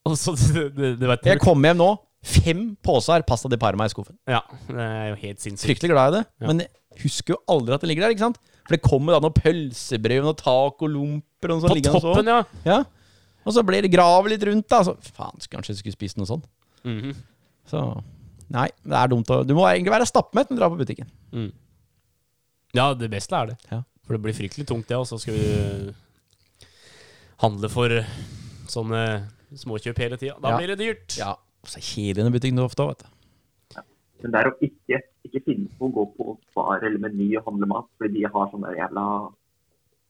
S1: og så- *laughs* du- du- du vet-
S3: Jeg kom hjem nå, fem poser pasta di parma i skuffen.
S1: Ja, det er jo helt sinnssykt.
S3: Fryktelig glad i det,
S1: Ja.
S3: men jeg husker jo aldri at det ligger der, ikke sant? For det kommer da noe pølsebrød og noe tacolomper og sånn. noe sånt
S1: På
S3: liggende så.
S1: toppen, ja.
S3: Ja. Og så blir det grav litt rundt, da. Så faen, så kanskje jeg skulle spist noe sånt.
S1: Mhm.
S3: Så nei, det er dumt å Du må egentlig være stappmett når du drar på butikken.
S1: Ja, det beste er det.
S3: Ja.
S1: For det blir fryktelig tungt, det, og så skal vi handle for sånne småkjøp hele tida. Da
S3: Ja.
S1: blir det dyrt.
S3: Ja. Og så er det kjedelig i den butikken du ofte òg, vet du.
S4: Men det er å ikke, ikke finne på å gå på bar eller meny og handle mat, fordi de har sånn der jævla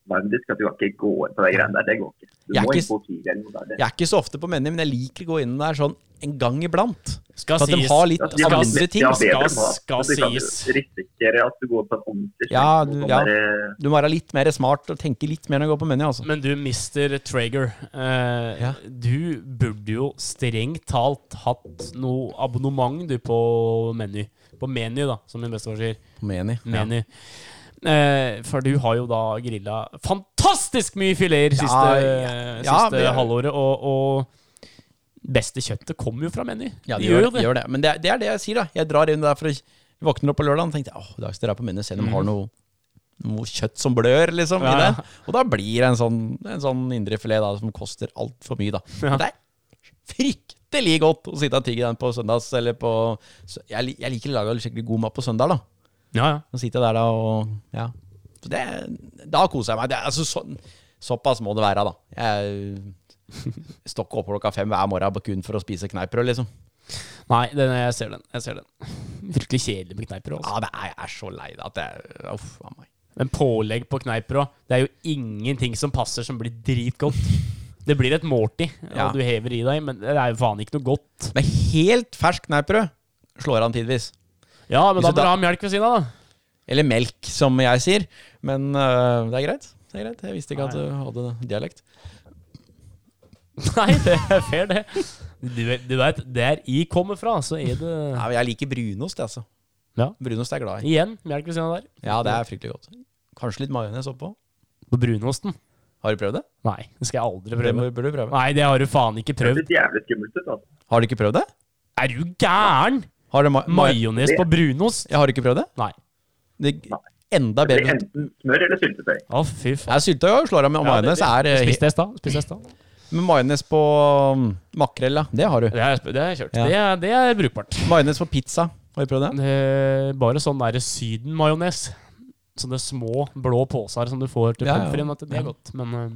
S4: varmdisk at du kan ikke gå inn på de greiene der. Det går ikke. Du
S3: Jeg er
S4: må
S3: ikke
S4: inn på Kiwi eller noe der. Det.
S3: Jeg er ikke så ofte på Meny, men jeg liker å gå inn der sånn en gang iblant.
S1: Skal
S3: For at de
S1: sies.
S3: har litt
S4: Ja, de har
S3: andre
S4: mindre-
S3: ting.
S4: de har
S1: skal-
S4: bedre mat,
S1: skal
S4: men du kan jo
S1: sies.
S4: risikere at du går på en ordentlig
S3: Ja,
S4: smell,
S3: du-
S4: sånn
S3: ja.
S4: der,
S3: Du må være litt mer smart og tenke litt mer når du går på Meny, altså.
S1: Men du, Mr. Traeger, eh,
S3: Ja.
S1: du burde jo strengt talt hatt noe abonnement du på Meny. På Meny, da, som min bestefar sier.
S3: På Meny. Ja.
S1: Meny. Eh, for du har jo da grilla fantastisk mye fileter siste, eh,
S3: ja. Ja,
S1: siste
S3: men jeg-
S1: halvåret, og, og beste kjøttet kommer jo fra Meny.
S3: Ja, det gjør, det. gjør det. Men det, er- det er det jeg sier, da. Jeg drar inn der for å våkner opp på lørdag og tenkte åh, i dag skal jeg dra på Meny, selv om de har noe, noe kjøtt som blør, liksom.
S1: Mm. Ja,
S3: I
S1: ja.
S3: det. Og da blir det en sånn, en sånn indrefilet da, som koster altfor mye, da. Men Det er fryktelig godt å sitte og tygge den på søndags, eller på så Jeg, li- jeg liker å lage skikkelig god mat på søndag, da.
S1: Ja, ja.
S3: Så sitter jeg der da og Ja. Så det, da koser jeg meg. Det, er altså, sånn- såpass må det være, da. Jeg står ikke opp klokka fem hver morgen kun for å spise kneippbrød, liksom.
S1: Nei, den, jeg ser den. *laughs* Jeg ser den. Virkelig kjedelig med kneiper. Også.
S3: Ja, det er, jeg er så lei det at jeg Uff a meg.
S1: Men pålegg på kneiper òg. Det er jo ingenting som passer som blir dritgodt. Det blir et måltid,
S3: Ja.
S1: og du hever i deg, men det er jo faen ikke noe godt.
S3: Men helt fersk kneippbrød slår han tidvis.
S1: Ja, men
S3: Hvis
S1: da må
S3: du
S1: du
S3: da-
S1: ha melk ved siden av, da. *laughs*
S3: Eller melk, som jeg sier. Men øh, det er greit. Det er greit. Jeg visste ikke at du hadde dialekt.
S1: Nei, det er fair, det. Du, vet- du veit, der I kommer fra, så er det
S3: Nei, men jeg liker brunost, jeg, altså.
S1: Ja.
S3: Brunost er jeg glad i.
S1: Igjen melk ved siden av der.
S3: Ja, det er fryktelig godt. Kanskje litt majones oppå.
S1: På brunosten.
S3: Har du prøvd det?
S1: Nei, det skal jeg aldri
S3: Det
S1: prøve.
S3: må- burde du prøve.
S1: Nei, det har du faen ikke
S4: det
S1: prøvd.
S4: ser jævlig skummelt ut. Altså.
S3: Har du ikke prøvd det?
S1: Er du gæren?
S3: Har du ma ma
S1: Majones på brunost?
S3: jeg har ikke prøvd det?
S1: Nei.
S3: det enda
S4: Det blir
S3: bedre.
S4: enten smør eller syltetøy.
S1: Å, fy faen.
S3: Jeg sylta jo og slår av med og
S1: Ja, det-
S3: majones. er,
S1: det-
S3: øh,
S1: Spiste jeg i stad. Spiste jeg i stad.
S3: he- Med majones på mm, makrell, ja. Det har du.
S1: Det har jeg sp- det har jeg kjørt.
S3: Ja.
S1: Det, er, det er brukbart.
S3: Majones på pizza. Har du prøvd det?
S1: Det er bare sånn derre Syden-majones. Sånne små, blå poser som du får til
S3: Ja, ja.
S1: pommes frites. vet du. Det er godt. Men eh,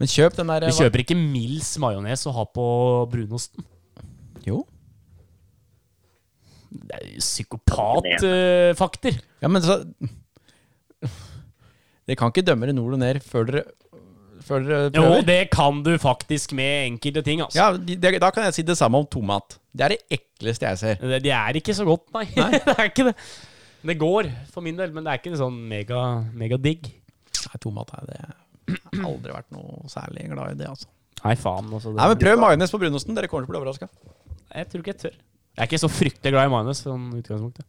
S3: Men kjøp den der
S1: vi kjøper ikke Mills majones å ha på brunosten.
S3: Jo.
S1: Det er eh, psykopatfakter.
S3: Ja, men så *laughs* Dere kan ikke dømme det nord og ned før dere, før dere
S1: Jo,
S3: prøver.
S1: det kan du faktisk med enkelte ting, altså.
S3: Ja, de, de, Da kan jeg si det samme om tomat. Det er det ekleste jeg ser.
S1: Det, det er ikke så godt, nei.
S3: Nei.
S1: *laughs* det er ikke det. Det går, for min del, men det er ikke sånn mega, mega digg.
S3: Nei, tomat er det Jeg har aldri vært noe særlig glad i det, altså.
S1: Nei, faen. Altså, det,
S3: Nei, men Prøv majones på brunosten. Dere kommer til å bli overraska.
S1: Jeg tror ikke jeg tør. Jeg er ikke så fryktelig glad i majones. Sånn utgangspunktet.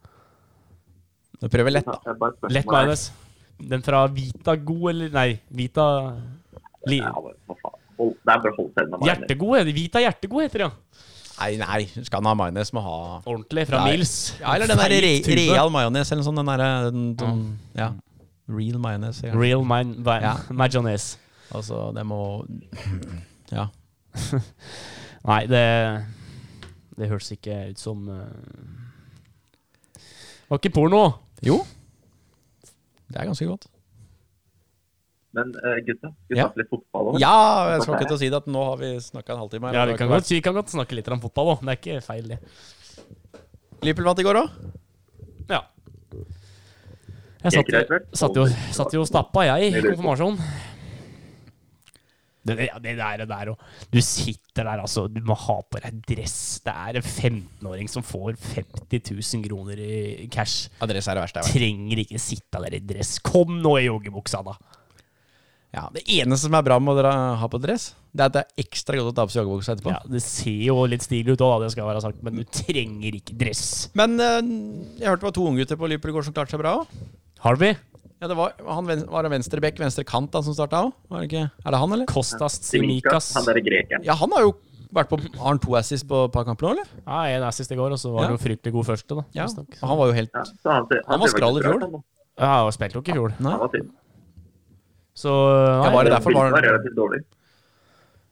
S3: Prøv lett, da.
S4: Det er bare et spørsmål.
S1: Lett majones. Den fra Vita God, eller Nei, Vita li,
S4: Ja, men hva faen. Hold- Det er bare å holde seg unna majones.
S1: Hjertegod. er det? Vita Hjertegod heter det, ja.
S3: Nei, nei, skal han ha majones, må ha
S1: Ordentlig, fra
S3: Nei.
S1: Mils.
S3: Ja, eller den der re
S1: Feit tube.
S3: real majones, eller sånn. Den derre den, den, ja. Real majones. Ja.
S1: Real man, va,
S3: Ja.
S1: majones.
S3: Altså, det må Ja.
S1: Nei, det Det hørtes ikke ut som eh, Var ikke porno.
S3: Jo. Det er ganske godt.
S4: Men eh, gutta, skal vi
S3: Ja.
S4: snakke litt fotball òg?
S3: Ja, jeg skal ikke til å si det at nå har vi snakka en halvtime. her,
S1: Ja,
S3: og
S1: vi
S3: det
S1: kan,
S3: har
S1: godt, vi kan godt snakke litt om fotball òg. Det er ikke feil, det.
S3: vært- Liverpool vant i går òg.
S1: Ja. Jeg satt,
S4: Gikk det greit, vel?
S1: satt, jo, satt jo og stappa, jeg, i konfirmasjon. Det, det, ja, det der, det der og Du sitter der, altså. Du må ha på deg dress. Det er en 15-åring som får 50 000 kroner i cash.
S3: Adresse er det verste jeg har vært.
S1: Trenger ikke sitte der i dress. Kom nå i joggebuksa, da.
S3: Ja, Det eneste som er bra med å dra- ha på dress, det er at det er ekstra godt å ta på seg joggebuksa etterpå.
S1: Ja, det ser jo litt stilig ut òg, det skal være sagt, men du trenger ikke dress.
S3: Men eh, jeg hørte det var to unggutter på Liverpool i går som klarte seg bra òg.
S1: Harvey,
S3: Ja, det var, han ven- var det venstrebekk, venstrekant da, som starta òg? Var det ikke- Er det han, eller?
S1: Kostas
S4: Simikas,
S1: Simikas.
S4: han derre grekeren.
S3: Ja, han har jo vært på Har han to assists på et par kamper nå, eller?
S1: Ja, en assist i går, og så var
S3: Ja.
S1: han jo fryktelig god første, da.
S3: Ja.
S1: visstnok.
S3: Og han var jo helt
S4: Ja, så han, ser-
S3: Han var
S4: ser faktisk
S3: skral i
S4: bra
S3: fjor.
S4: ut, han, da.
S1: Ja, og spilte jo ikke i fjor.
S3: Nei.
S4: Han var synd.
S1: Så
S3: Ja,
S1: nei,
S3: var det derfor var
S4: var
S3: han
S4: relativt dårlig.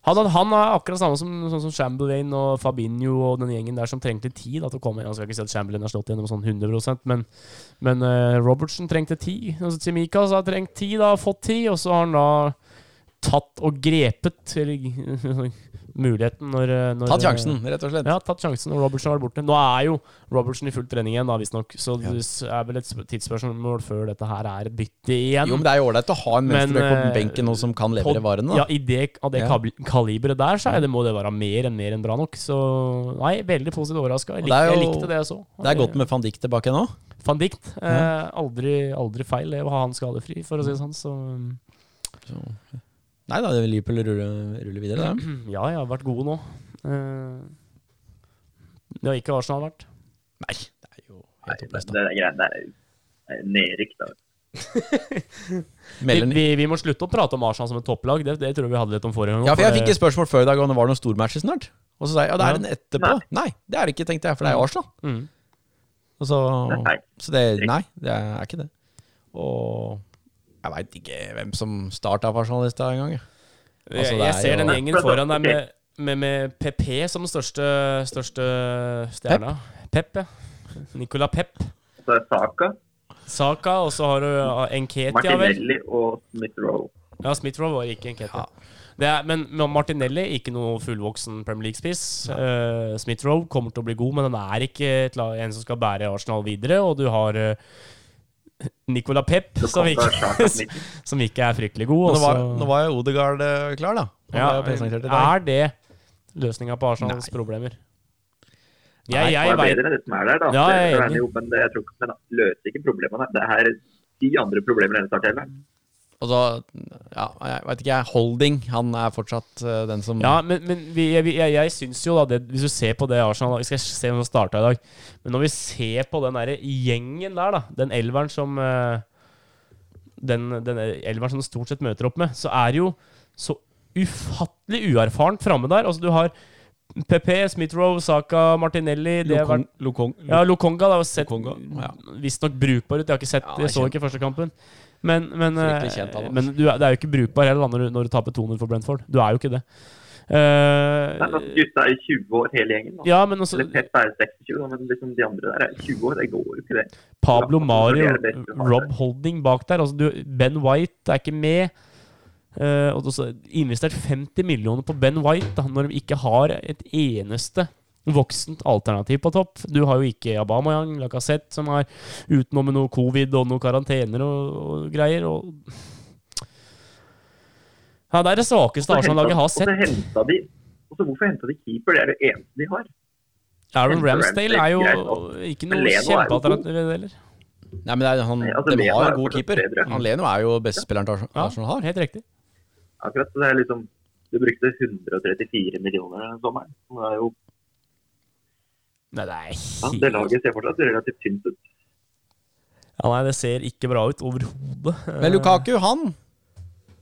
S1: han, hadde- han er akkurat samme som, sånn som Chamberlain og Fabinho og den gjengen der som trengte tid da, til å komme inn. Jeg skal ikke si at Chamberlain har slått gjennom sånn 100 men, men eh, Robertson trengte tid. Altså, Tsimikas har trengt tid, da, fått tid, og så har han da tatt og grepet eller, *laughs* muligheten når, eh, når
S3: Tatt sjansen, rett og slett.
S1: Ja, tatt sjansen, og Robertson har vært borte. Nå er jo Robertson i full trening igjen, da, visstnok, så det er vel et sp- tidsspørsmål før dette her er et bytte igjen.
S3: Jo, men det er jo ålreit å ha en
S1: Men,
S3: venstrebekk på
S1: eh,
S3: benken nå som kan
S1: På-
S3: levere varene. da.
S1: Ja, i det, av det
S3: Ja.
S1: kabl- kaliberet der, så er det, må det være mer enn mer enn bra nok. Så nei, veldig positivt overraska. Jeg,
S3: Og det er
S1: lik, jeg
S3: jo-
S1: likte det jeg så.
S3: Det er godt med van Dijk tilbake nå.
S1: Van Dikt. Eh, aldri, aldri feil det å ha han skadefri, for å si det sånn. Så
S3: Nei da, Liverpool ruller, ruller videre, det.
S1: mm, ja, jeg har vært gode nå. Eh, det har ikke Arsenal vært.
S3: Nei, det er jo helt
S4: Det
S3: opplest. da.
S4: der greiene der er jo- er nedrykk, da.
S1: Vi,
S3: Melder ny-
S1: vi, vi må slutte å prate om Arsenal som et topplag. Det, det tror jeg vi hadde litt om forrige gang.
S3: Ja, for jeg fikk
S1: det-
S3: et spørsmål før i dag om det var noen stormatcher snart. Og så sa jeg ja, det er
S1: Ja.
S3: en etterpå. Nei, det er det ikke, tenkte jeg, for det er Arsenal.
S1: mm.
S3: Og så,
S4: Nei.
S3: så det Nei, det er ikke det. Og jeg veit ikke hvem som starta for Arsenal i stad engang. jeg. Altså,
S1: jeg
S3: det er
S1: jeg ser
S3: jo-
S1: den gjengen foran deg med, med, med PP som den største, største stjerna. Pep, ja. Nicola Pep.
S4: Så er Saka,
S1: Saka, og så har du ja, Enketia, vel.
S4: Martinelli og Smith Rowe.
S1: Ja, Smith-Rowe var ikke Enketia. Det er, men men Martinelli, ikke noe fullvoksen Premier League-spiss. Eh, Smith-Rowe kommer til å bli god, men han er ikke et la- en som skal bære Arsenal videre. Og du har eh, Nicola Pep,
S4: Så
S1: som
S4: kom det Saka
S1: ikke,
S4: på midten.
S1: *laughs* som ikke er fryktelig god.
S3: Nå
S1: og
S3: var,
S1: så-
S3: nå var jo Odegaard eh, klar, da. Han
S1: Ja,
S3: ble jo presentert i dag.
S1: er det løsninga på Arsenals problemer? Jeg,
S4: Det
S1: jeg
S4: er
S1: vet
S4: bedre enn det som er der, da.
S1: Ja, jeg er
S4: Det- det
S1: enig.
S4: jo, men det, jeg tror ikke, men det løser ikke problemene. Det er ti andre problemer enn starthelveren.
S3: Og så, ja, jeg veit ikke, jeg. Holding, han er fortsatt eh, den som
S1: Ja, men, men vi, jeg, jeg, jeg syns jo da det, Hvis du ser på det Arsenal Vi skal se om det starta i dag. Men når vi ser på den derre gjengen der, da. Den elveren som eh, Den, den elveren som du stort sett møter opp med, så er det jo så ufattelig uerfarent framme der. Altså, du har PP, Smith-Rowe, Saka, Martinelli Det har vært
S3: Lokong, Lokong,
S1: Ja, Lokonga da, har sett
S3: Lokonga, ja.
S1: visstnok brukbar ut. Jeg har ikke sett,
S3: Ja,
S1: jeg så
S3: kjent.
S1: ikke første kampen. Men, men, eh,
S3: Fryktelig kjent, han, altså.
S1: men du, er- det er jo ikke brukbar heller da, når, du- når du taper 200 for Brentford. Du er jo ikke det. Eh,
S4: Nei, altså, Gutta er 20 år hele gjengen. Da.
S1: ja, men også
S4: Eller Pep er 26, da, men liksom de andre der er 20 år. Det går jo ikke, det.
S1: Pablo Mari,
S4: Det er det beste vi har.
S1: Rob Holding bak der. Altså, du, ben White er ikke med. Eh, og så investert 50 millioner på Ben White da, når de ikke har et eneste voksent alternativ på topp. Du har jo ikke Abamayang, Lacassette, som er utenom med noe covid og noe karantener og, og greier. Og ja, det er det svakeste
S4: Og så
S1: Arsenal-laget har
S4: hentet- Og så
S1: sett.
S4: henta de og så Hvorfor henta de keeper? Det er det eneste de har.
S1: Aaron
S4: hentet
S1: Ramsdale er
S4: Ramsdale,
S1: jo
S4: greit
S1: ikke
S4: Men
S1: noe
S4: Leno er jo god.
S1: kjempealternativ heller.
S3: Nei, men det er, han,
S4: Nei, altså,
S3: de
S4: Leno
S3: har
S4: er
S3: en god
S4: fortsatt
S3: keeper.
S4: bedre.
S3: Han Leno er jo beste spilleren til Ars-
S1: Ja,
S3: Arsenal har.
S1: helt riktig.
S4: Akkurat, så det er liksom, Du brukte 134 millioner denne sommeren. Det, er jo,
S1: Nei, det er
S4: ja,
S1: helt
S4: det laget ser fortsatt relativt tynt ut.
S1: Ja, nei, det ser ikke bra ut overhodet.
S3: Men Lukaku, han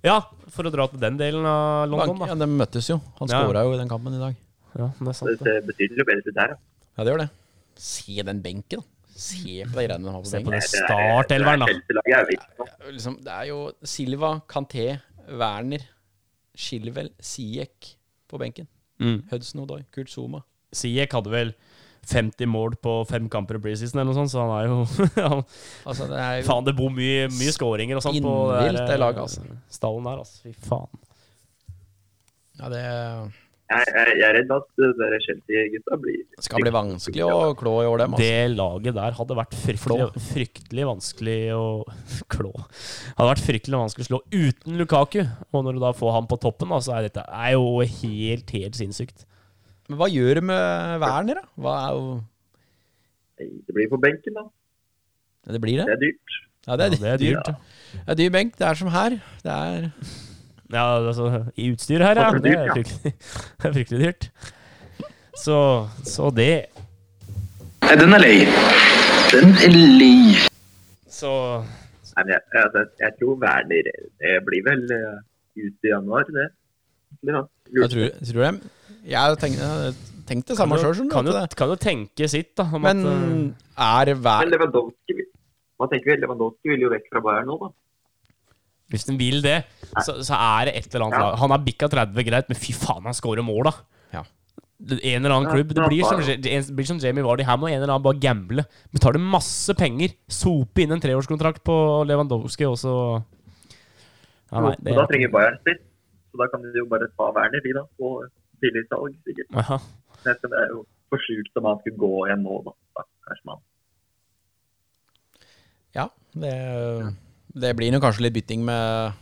S1: Ja, for å dra til den delen av London,
S3: bank, ja,
S1: da.
S3: De møttes jo. Han
S1: Ja.
S3: skåra jo i den kampen i dag.
S1: Ja, det er sant.
S4: Det
S1: Det.
S4: ser betydelig bedre ut der. da.
S3: Ja, det gjør det. Se den benken, da. Se på de greiene de har på
S1: Se på
S3: benken.
S1: det
S4: Det er-
S1: startelveren, da.
S4: Chelsea-laget er jo vilt nå.
S3: Liksom, det er jo Silva, Kanté, Werner, Schilvel, Siek på benken.
S1: Mm.
S3: Hudson Odoi, Kurt Zuma.
S1: Siek hadde vel 50 mål på fem kamper i preseason, eller noe sånt, så han er jo *laughs* han,
S3: Altså, det er jo
S1: Faen, det bor mye, mye skåringer og sånt på
S3: Innvilt,
S1: der,
S3: det laget, altså.
S1: stallen der, altså. Fy faen.
S3: ja, Det
S4: Jeg, jeg, jeg er redd at uh, dere Chelsea-gutta blir
S3: skal bli vanskelig å klå i år, dem. Altså.
S1: Det laget der hadde vært fryktelig, fryktelig vanskelig å *laughs* klå. Hadde vært fryktelig vanskelig å slå uten Lukaku. Og når du da får han på toppen, da, så er dette er jo helt, helt sinnssykt.
S3: Men hva gjør du med Werner, da? Hva er jo
S4: Det blir på benken, da.
S3: Det blir
S4: Det
S3: det.
S4: er dyrt.
S3: Ja,
S1: Ja,
S3: det er,
S1: det er dyrt. ja.
S3: Det er dyr benk. Det er som her. Det er
S1: Ja, altså, i utstyr her, ja. Det er fryktelig, *laughs* det er fryktelig dyrt. Så, så det
S6: Den er lei. Den er lei.
S1: Så
S4: Nei, men jeg, altså, jeg tror Werner Det blir vel uh, ut i januar, det. Ja,
S3: Jeg tror, tror jeg, jeg tenkte, jeg tenkte det samme sjøl,
S1: kan, jo,
S3: skjønner du.
S1: kan jo tenke sitt, da. Om
S3: Men
S1: at, eh,
S3: er
S4: Men
S3: hver
S4: Lewandowski vil- Hva tenker vi? Lewandowski vil jo vekk fra Bayern nå, da.
S1: eh, hvis den vil det, så, så er det et eller annet
S4: Ja.
S1: lag. Han er bikka 30, greit, men fy faen, han scorer mål, da.
S3: Ja.
S1: Det- En eller annen
S4: Ja,
S1: klubb. Det
S4: ja,
S1: blir som,
S4: bare-
S1: Ja- det blir som Jamie Vardy. Her må en eller annen bare gamble. Betaler masse penger. Sope inn en treårskontrakt på Lewandowski, og så ja, nei,
S4: Så da trenger Bayern spiss. Så da kan de jo bare ta Werner, de, da. Og billig salg, sikkert.
S1: Aha.
S4: Men Det er jo for sjukt om han skulle gå igjen nå, da. Stakkars mann.
S3: Ja, det, det blir nå kanskje litt bytting med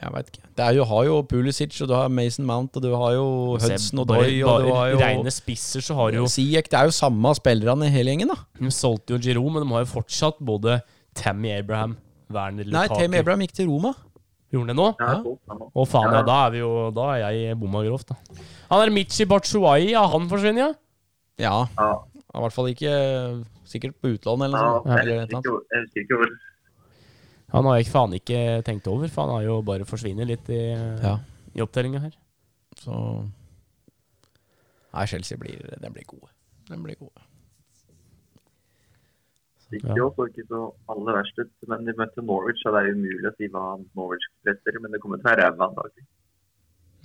S3: Jeg veit ikke. Det er jo, har jo Pulisic, og du har Mason Mount, og du har jo Hudson og Doy, og du har jo
S1: Reine spisser, så har du jo
S3: Siek. Det er jo samme spillerne i hele gjengen, da.
S1: De solgte jo Giroud, men de har jo fortsatt både Tammy Abraham, Werner
S3: Nei,
S1: Lukaku
S3: Tame Abraham gikk til Roma.
S1: Gjorde han det nå?
S4: Ja, så, ja, nå.
S1: Å faen, ja, da er vi jo Da er jeg bomma grovt, da. Han er Michi Batshuayi, ja, han forsvinner, ja?
S3: Ja,
S4: ja.
S3: han er i hvert fall ikke Sikkert på utlån eller
S4: ja,
S3: noe sånt.
S4: jeg
S3: Eller et eller annet.
S4: husker ikke hvor- jeg husker ikke hvor
S1: Han har jeg ikke- faen ikke tenkt over, for han har jo bare forsvinner litt i,
S3: Ja,
S1: i opptellinga her.
S3: så Nei, Chelsea blir, den blir gode. Den blir gode.
S4: Ikke
S1: Ja.
S4: ja. så ikke så aller verst ut, men de møtte Norwich, og det er umulig å si hva Norwich presterer, men det kommer til å være ræva antagelig.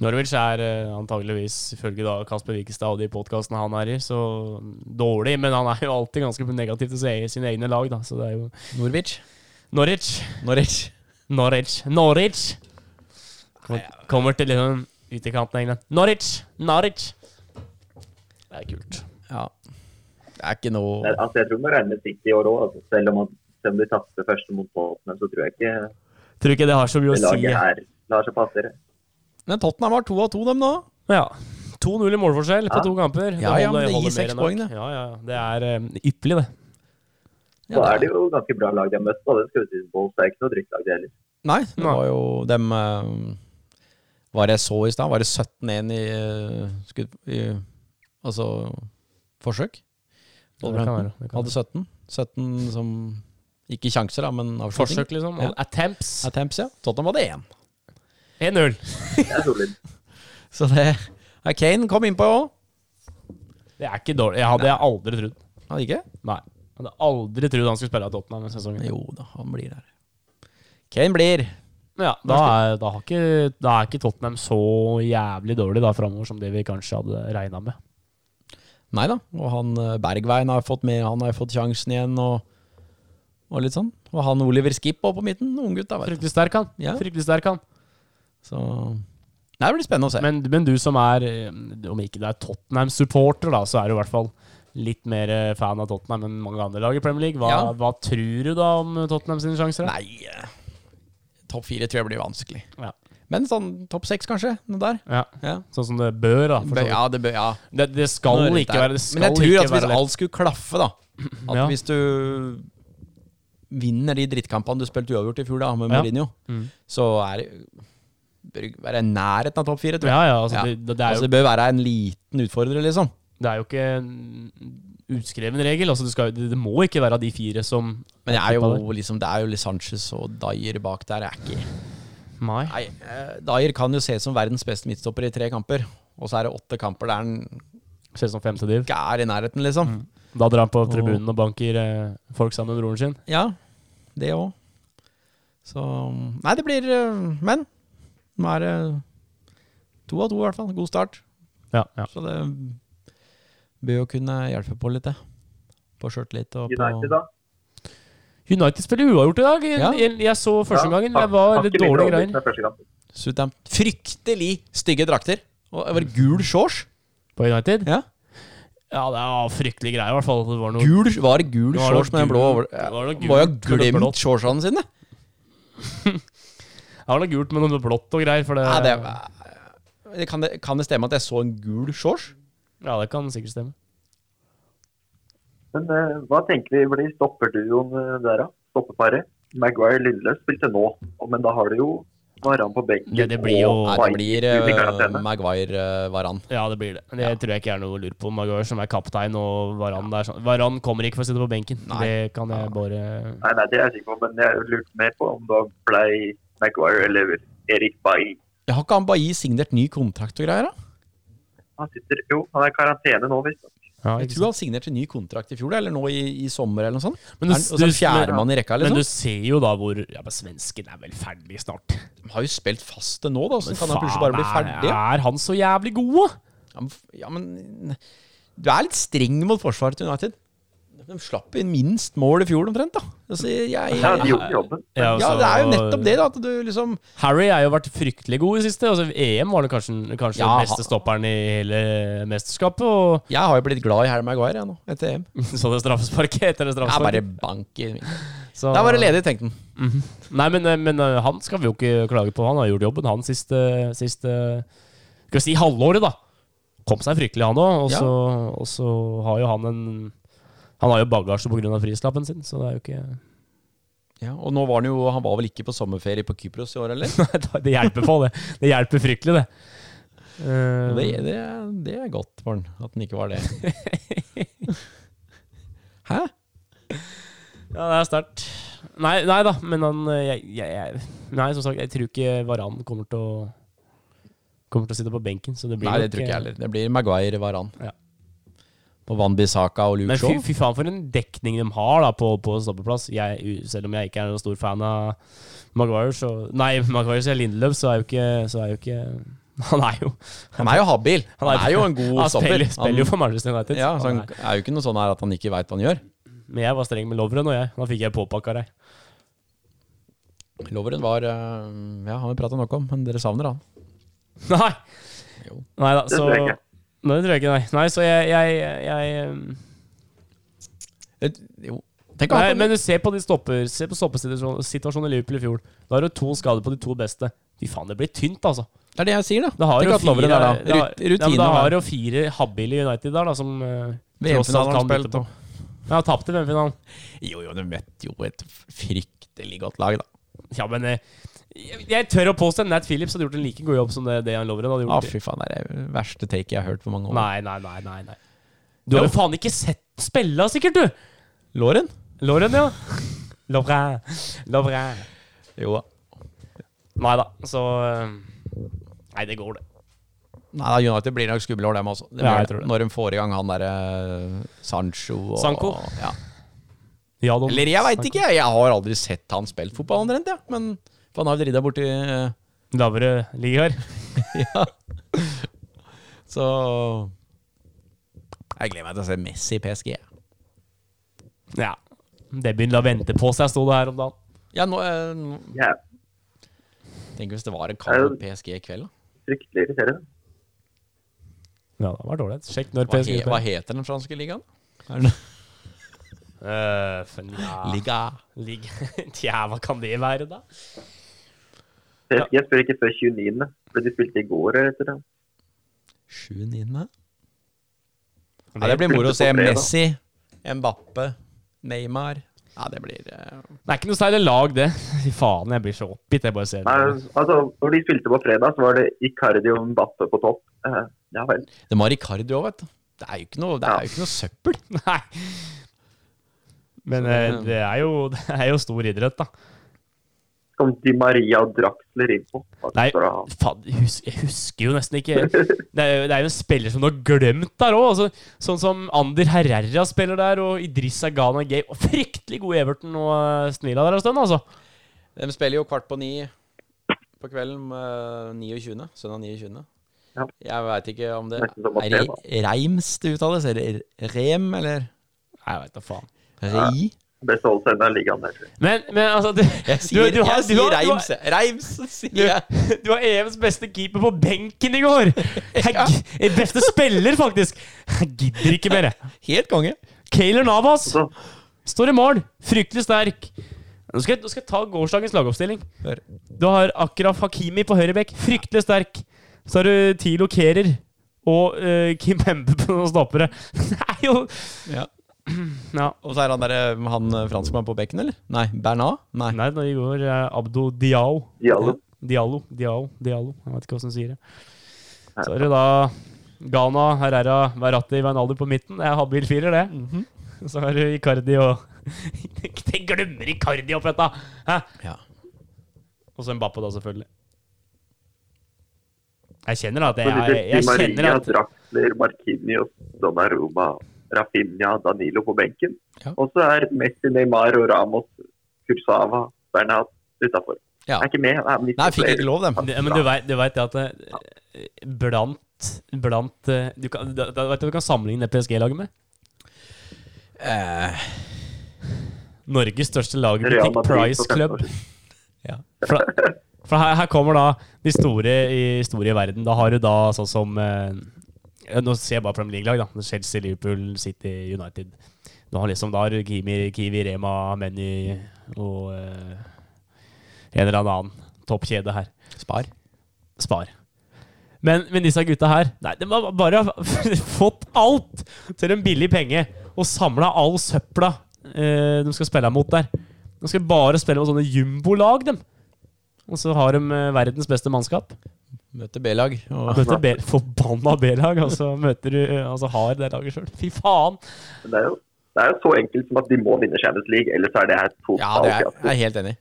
S1: Norwich er eh, antageligvis, ifølge da Kasper Wikestad og de podkastene han er i, så dårlig, men han er jo alltid ganske negativ til se- sine egne lag, da, så det er jo
S3: Norwich.
S1: Norwich.
S3: Norwich.
S1: Norwich. Norwich. Kommer, kommer til liksom ut i kanten av England. Norwich! Norwich! Det er kult.
S3: Ja. Det er ikke
S4: Men,
S3: noe
S4: Altså, jeg tror man regner City i år òg, altså, selv om man- selv om de tapte første mot Tottenham, så tror jeg ikke
S1: Tror ikke det har så mye
S4: det
S1: å si.
S4: laget her lar seg passere.
S3: Men Tottenham var to av to, dem nå.
S1: Ja. 2-0 i målforskjell på
S4: Ja.
S1: to kamper.
S3: Ja, ja,
S1: holder-
S3: men det gir
S1: holder mer
S3: seks
S1: enn nok.
S3: poeng, det.
S1: Ja, ja, ja. det er eh, ypperlig, det.
S4: Så er det jo ganske bra lag de har møtt, da. Det skal vi si. Wolves er ikke noe drittlag, det heller.
S3: Nei, det
S1: Nei.
S3: var jo dem eh, Var det jeg så i stad? Var det 17-1 i eh, skudd i, Altså forsøk?
S1: Ja, det kan være, det kan
S3: Hadde 17. 17 som Ikke sjanser, da, men avslutning.
S1: Forsøk, liksom.
S3: Ja.
S1: Attempts.
S3: Attempts, ja. Tottenham hadde én.
S1: 1-0.
S4: Det er solid.
S3: Så det ja, Kane kom innpå òg.
S1: Det er ikke dårlig. Jeg hadde jeg aldri trodd.
S3: Hadde ikke?
S1: Nei. Jeg hadde aldri trodd han skulle spille i Tottenham denne sesongen.
S3: Jo da, han blir der. Kane blir.
S1: Ja, da er, da, har ikke, da er ikke Tottenham så jævlig dårlig da framover som det vi kanskje hadde regna med.
S3: Nei da. Og han eh, Bergveien har fått med, han har fått sjansen igjen, og, og litt sånn. Og han Oliver Skipp også på midten, unggutta, vet du.
S1: Fryktelig sterk, han.
S3: Ja.
S1: Fryktelig sterk, han.
S3: Så Nei, det blir spennende å se.
S1: Men, men du som er, eh, om ikke det er Tottenham-supporter, da, så er du i hvert fall litt mer eh, fan av Tottenham enn mange andre lag i Premier League. Hva,
S3: Ja.
S1: hva tror du da om Tottenham sine sjanser? da?
S3: Nei, eh, topp fire tror jeg blir vanskelig.
S1: Ja.
S3: Men sånn topp seks, kanskje? Noe der.
S1: Ja.
S3: Ja.
S1: Sånn som det bør, da. For
S3: Bør,
S1: så vidt.
S3: ja, det bør ja.
S1: Det, det skal
S3: Nå er det
S1: ikke
S3: der.
S1: være det skal
S3: Men jeg tror
S1: ikke
S3: at hvis
S1: være lett.
S3: alt skulle klaffe, da At
S1: Ja.
S3: hvis du vinner de drittkampene du spilte uavgjort i fjor, da, med
S1: Ja. Mm.
S3: Mourinho, så er det Bør ikke være i nærheten av topp fire, tror jeg.
S1: Ja, ja, altså,
S3: Ja.
S1: Det, det, det, er
S3: altså,
S1: jo,
S3: det bør være en liten utfordrer, liksom.
S1: det er jo ikke en utskreven regel. Altså, du skal, det, det må ikke være av de fire som
S3: Men det er jo liksom Det er jo litt Sanchez og Dyer bak der. Jeg er ikke
S1: Nei.
S3: Nei, eh, Dyer kan jo ses som verdens beste midtstopper i tre kamper. Og så er det åtte kamper der han
S1: Ser ut som femte div.
S3: ikke er i nærheten, liksom.
S1: Mm. Da drar han på tribunen og banker eh, folk sammen med broren sin.
S3: Ja, det òg. Så Nei, det blir øh, Men nå er det to av to, i hvert fall. God start.
S1: Ja, ja.
S3: Så det bør jo kunne hjelpe på litt, det. På sjøltillit og på
S4: United, da?
S1: United spiller uavgjort i dag. Jeg,
S3: Ja.
S1: jeg, jeg så første
S4: Ja,
S1: gangen.
S4: har-
S1: Det var
S4: har
S1: litt
S4: ikke blitt
S1: dårlige
S4: overbevist
S1: greier.
S4: med første kamp.
S3: Southampton. Fryktelig stygge drakter. Og det var gul shorts.
S1: På United?
S3: Ja.
S1: Ja, det var fryktelige greier, i hvert fall. Det var noe
S3: Gul, var det gul
S1: Det var
S3: shorts
S1: noe
S3: med den blå
S1: gul-
S3: over...
S1: det var noe
S3: Må jo ha
S1: gult og noe blått.
S3: glemt shortsene sine.
S1: Jeg har noe gult med noe blått og greier. For det,
S3: Nei, det, var- kan, det, kan det stemme at jeg så en gul shorts?
S1: ja, det kan sikkert stemme.
S4: Men eh, hva tenker vi blir stopperduoen eh, der, da? Stoppeparet? Maguire Lindløs spilte nå, og- men da har du jo Varan på benken.
S1: Ja, det blir jo-
S4: og
S3: Nei, det
S4: Mike
S3: blir
S4: ut i
S3: eh,
S4: karantene.
S3: Maguire eh, Varan.
S1: Ja, det blir det. Det tror jeg ikke er noe å lure på. Maguire som er kaptein, og Varan der sånn. Varan kommer ikke for å sitte på benken.
S3: Nei.
S1: Det kan jeg bare
S4: Nei, nei, det er jeg sikker på, men jeg lurte mer på om da ble Maguire eller Erik Bay
S3: Jeg har ikke han Bailly signert ny kontrakt og greier? da?
S4: Han sitter jo, han er i karantene nå, visst.
S1: ja,
S3: Jeg
S1: ikke
S3: tror
S1: sant.
S3: han signerte ny kontrakt i fjor, eller nå i, i sommer, eller noe sånt.
S1: Men du-
S3: Er han- og så
S1: du-
S3: er han
S1: men-
S3: fjerdemann i
S1: Men
S3: rekka, liksom.
S1: du ser jo da hvor Ja, men svensken er vel ferdig snart.
S3: De har jo spilt fast til nå, da,
S1: Men
S3: så kan han plutselig bare bli
S1: faen,
S3: ferdig.
S1: Er han så jævlig god, da?
S3: Ja, men f- Ja, men Du er litt streng mot forsvaret til United. De slapp inn minst mål i fjor, omtrent. da altså, jeg, jeg,
S4: Ja, de gjorde jobben.
S3: Ja,
S1: altså,
S3: det er jo nettopp det, da. At du liksom
S1: Harry har jo vært fryktelig god i det siste. Altså, EM var det kanskje, kanskje
S3: Ja,
S1: den beste
S3: han-
S1: stopperen i hele mesterskapet. Og *laughs*
S3: Jeg har jo blitt glad i Harry Maguire jeg, nå, etter EM.
S1: så det straffesparket etter det
S3: Jeg er bare
S1: straffesparket.
S3: banker. Det
S1: Så-
S3: er bare ledig, tenkte han.
S1: Nei, men, eh, men han skal vi jo ikke klage på. Han har gjort jobben, han siste, siste Skal vi si halvåret, da. Kom seg fryktelig, han òg. Og,
S3: Ja.
S1: så- og så har jo han en Han har jo bagasje pga. prislappen sin, så det er jo ikke *laughs*
S3: Ja, og nå var han jo Han var vel ikke på sommerferie på Kypros i år, eller?
S1: Nei, det hjelper på, det. Det hjelper fryktelig, det. Eh,
S3: Det, det, det er godt for han at han
S1: *laughs*
S3: ikke var det. Hæ?
S1: Ja, det er sterkt. Nei, nei da, men han eh, jeg, jeg, jeg, Nei, som sagt, jeg tror ikke Varan kommer til å Kommer til å sitte på benken, så det blir
S3: Nei, det
S1: nok,
S3: tror ikke
S1: eh,
S3: jeg heller. Det blir Maguire, Varan.
S1: Ja.
S3: Og Van Bissaka og Luke
S1: Men fy,
S3: Shaw.
S1: fy faen for en dekning de har da på, på stoppeplass. Jeg, u- selv om jeg ikke er noen stor fan av Maguire, så Nei, Maguire sier Lindeløf, så er jo ikke, så er jo ikke *laughs* Han er jo
S3: Han er jo habil. Han er jo
S1: *laughs*
S3: en god
S1: Han
S3: stopper.
S1: spiller, spiller jo
S3: Han-
S1: for Manchester United.
S3: *laughs* Ja, så
S1: Han
S3: han er jo ikke noe sånn her at han ikke veit hva han gjør.
S1: er, men jeg var streng med Lovren, og jeg. Da fikk jeg påpakka deg.
S3: Loveren var øh, Ja, han vi prata nok om, men dere savner han.
S1: *laughs* Nei!
S3: Jo.
S1: Nei da,
S4: Det
S1: så
S4: tror jeg ikke.
S1: Nei, det tror jeg ikke, nei. nei så jeg, jeg, jeg, um, jeg
S3: Et- Eh, Jo. Tenk å ha
S1: Nei,
S3: på-
S1: men du ser på de stopper Se på stoppesituasjonen situasjonen i Liverpool i fjor. Da har du to skader på de to beste. Fy faen, det blir tynt, altså.
S3: Det er det jeg sier, da.
S1: Da har
S3: Tenk
S1: jo
S3: at Lovren
S1: fire,
S3: er da.
S1: da,
S3: Rut-
S1: ja, men
S3: Rutine.
S1: da
S3: da.
S1: har jo fire habile i United der, da, som eh, tross alt
S3: VM-finalen har
S1: kan
S3: han
S1: bytte
S3: spilt,
S1: på.
S3: og
S1: Ja, tapte i VM-finalen.
S3: Jo, jo, du møtte jo et fryktelig godt lag, da.
S1: Ja, men eh, jeg, jeg tør å påstå at Nat Phillips hadde gjort en like god jobb som det, det han Lovren hadde
S3: Å,
S1: gjort.
S3: Ah, fy faen, det er det verste taket jeg har hørt på mange år.
S1: nei, nei, nei, nei, nei. Du har jo faen ikke sett spille, sikkert, du!
S3: Lauren?
S1: Lovren,
S3: *laughs*
S1: ja. Lovren. Lovren.
S3: Jo da.
S1: Nei da, så eh, Nei, det går, det.
S3: Nei, da, United blir nok skumle år, dem også. Det
S1: Ja,
S3: blir
S1: jeg
S3: det.
S1: tror det.
S3: Når de får i gang han derre Sancho og
S1: Sanko.
S3: Ja.
S1: Ja, da-
S3: Eller jeg veit ikke, jeg. Jeg har aldri sett han spilt fotball omtrent, jeg. Men for han har jo dridd borti eh, *laughs*
S1: Lavere ligaer.
S3: Ja. Så Jeg gleder meg til å se Messi i PSG. jeg.
S1: Ja. Debuten la vente på seg, sto det her om dagen.
S3: Ja, nå eh,
S4: Ja,
S3: Tenk hvis det var en kamp mot PSG i kveld, da.
S4: fryktelig irriterende.
S1: Ja, det var dårlig. Sjekk når
S3: Hva,
S1: PSG
S3: he, hva heter den franske ligaen? Er det noe? *laughs*
S1: spiller.
S3: Liga
S1: Eh, Ligg. *laughs* Tja, hva kan det være, da?
S4: PSG spiller ikke før 29., for de spilte i går eller etter det.
S3: 7-9. Ja, det blir moro å se Messi, Mbappe, Neymar. Ja, det blir eh,
S1: Det er ikke noe særlig lag, det. Fy faen, jeg blir så oppgitt. Jeg bare ser
S4: Nei,
S1: det.
S4: altså, når de spilte på fredag, så var det Icardi og Mbappe på topp. Eh, ja vel.
S3: De har Ricardio, vet du. Det er jo ikke noe, det er jo ikke noe søppel.
S1: Nei. *laughs* Men eh, det er, jo, det er jo stor idrett, da.
S4: kom Di Maria og Draxler inn på. Hva
S1: Nei,
S4: skal du ha?
S1: faen, jeg hus- jeg husker jo nesten ikke Det er jo, det er jo en spiller som du har glemt der òg. Altså, sånn som Ander Herrera spiller der, og Idrissa Ghana Gay. Og fryktelig god Everton og eh, Snila der en stund, altså.
S3: De spiller jo kvart på ni på kvelden eh, 29. Søndag 29.
S4: Ja.
S3: Jeg veit ikke om det
S4: Nesten som å
S3: er
S4: se, da.
S3: Re- Reims det uttales, eller Rem, eller
S1: Nei, jeg vet da faen.
S3: Rei?
S4: Beste holdsendet i ligaen. egentlig.
S1: Men, men altså du,
S3: Jeg sier,
S1: du, du har,
S3: jeg
S1: du
S3: sier
S1: har, du
S3: Reims,
S1: har,
S3: jeg. Reims, sier jeg. *laughs*
S1: du har EMs beste keeper på benken i går! Jeg, gi- Beste spiller, faktisk! Jeg gidder ikke mer, jeg.
S3: Helt konge.
S1: Kaylor Navas
S3: Altså.
S4: Så,
S1: står i mål. Fryktelig sterk. Nå skal, jeg- nå skal jeg ta gårsdagens lagoppstilling.
S3: Hør.
S1: Du har Akraf Hakimi på høyrebekk. Fryktelig sterk. Så har du Tilo Kerer og eh, Kim Hempe på noen stoppere. *laughs* Det er jo
S3: Ja.
S1: Ja.
S3: Og så er han der, han eh, franskmannen på bekken, eller? Nei, Bernard? Nei.
S1: Nei, nå i går eh, Abdo Diao.
S4: Diallo.
S1: Diallo, Diallo, Diallo. Jeg vet ikke hvordan du sier det. Så er det da Ghana, Herrera, Verratti, Wijnaldum på midten. Det er habil firer, det. *laughs* Så har du Icardi og *laughs* Det glemmer Icardi opp, dette! Hæ?
S3: Ja.
S1: Og så Mbappe, da, selvfølgelig. Jeg kjenner at jeg,
S4: så
S1: jeg,
S4: sitter
S1: jeg,
S4: Di
S1: kjenner
S4: Maria,
S1: at
S4: Draxler, Marquinhos, Donnarumma, Rafinha, Danilo på benken.
S3: Ja.
S4: Og så er Messi, Neymar og Ramos, Kursava, Bernat utafor.
S3: Ja.
S4: Er ikke med. Er midt
S3: Nei,
S4: på
S3: fikk
S4: flere.
S3: ikke lov, dem.
S1: Det- Men du vet, du vet det at eh, blant Blant eh, du kan, da, da, Vet du hva du kan sammenligne det PSG-laget med?
S3: Eh,
S1: Norges største lag i
S4: Real
S1: butikk,
S4: Madrid
S1: Price
S4: for fem
S1: Club.
S4: år siden.
S3: ja.
S1: For, da, for her, her kommer da de store i, store i verden. Da har du da sånn som eh, ja, Nå ser jeg bare Premier League-lag, da. Chelsea, Liverpool, City, United. Du har liksom da har du Kimi, Kiwi, Rema, Menny og eh, en eller annen toppkjede her.
S3: Spar.
S1: Spar. Men, men disse gutta her Nei, de har bare *laughs* fått alt til en billig penge. Og samla all søpla eh, de skal spille mot der. De skal bare spille mot sånne jumbolag, dem. Og så har de eh, verdens beste mannskap.
S3: Møter B-lag. og-
S1: Møter B forbanna B-lag, og så møter du eh, altså har det laget sjøl. Fy faen!
S4: Men Det er, jo, det er jo så enkelt som at de må vinne Champions League, ellers er det her
S3: Ja,
S4: totalt
S3: det er,
S4: fiasko.
S3: jeg er helt enig.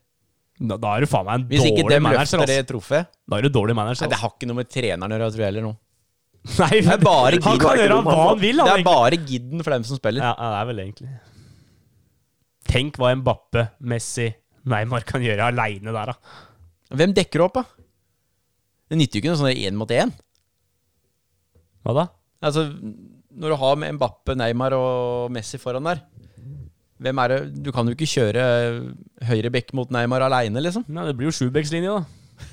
S1: Da, da er du faen meg en
S3: Hvis ikke
S1: dårlig
S3: dem
S1: manager.
S3: løfter
S1: Altså.
S3: det trofeet
S1: Da er du dårlig manager.
S3: Nei, det
S1: Altså.
S3: har ikke noe med treneren å gjøre, tror jeg heller. nå
S1: Nei,
S3: er bare
S1: han
S3: Guido
S1: kan gjøre
S4: Eikerom,
S1: hva
S4: han,
S1: han vil.
S3: Det
S1: Han,
S3: er
S1: egentlig.
S3: bare gidden for dem som spiller.
S1: Ja, ja, det er vel egentlig Tenk hva Mbappe, Messi, Neymar kan gjøre aleine der, da.
S3: Hvem dekker opp, da? Det nytter jo ikke noe sånn én mot én.
S1: Hva da?
S3: Altså, når du har med Mbappe, Neymar og Messi foran der hvem er det? Du kan jo ikke kjøre høyre bekk mot Neymar aleine, liksom. *laughs*
S1: Nei, det blir jo Sjubekslinja, da.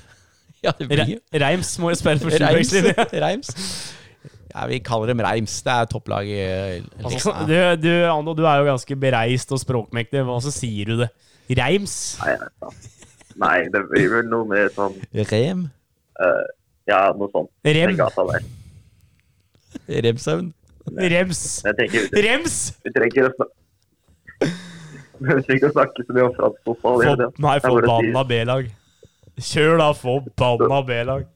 S3: Ja, det
S1: Re
S3: blir jo
S1: Reims må jo spille for
S3: *laughs* Reims.
S1: Sjubekslinja. *laughs*
S3: Reims. Ja, vi kaller dem Reims. Det er topplag i
S1: Altså,
S3: liksom.
S1: du, du, Ando, du er jo ganske bereist og språkmektig. Hva så sier du det? Reims?
S4: Nei, jeg vet da. Nei, det blir vel noe med sånn
S3: Rem.
S4: eh, Ja, noe sånt. Den
S1: Rem?
S4: gata der.
S3: Remsaun.
S1: Rems?
S4: Jeg tenker, vi,
S1: Rems?
S4: vi trenger å snakke Vi trenger ikke å snakke så mye om fransk fotball. gjør vi
S1: For,
S4: det?
S1: nei,
S4: Det er bare å si-
S1: forbanna B-lag. Kjør da, forbanna B-lag.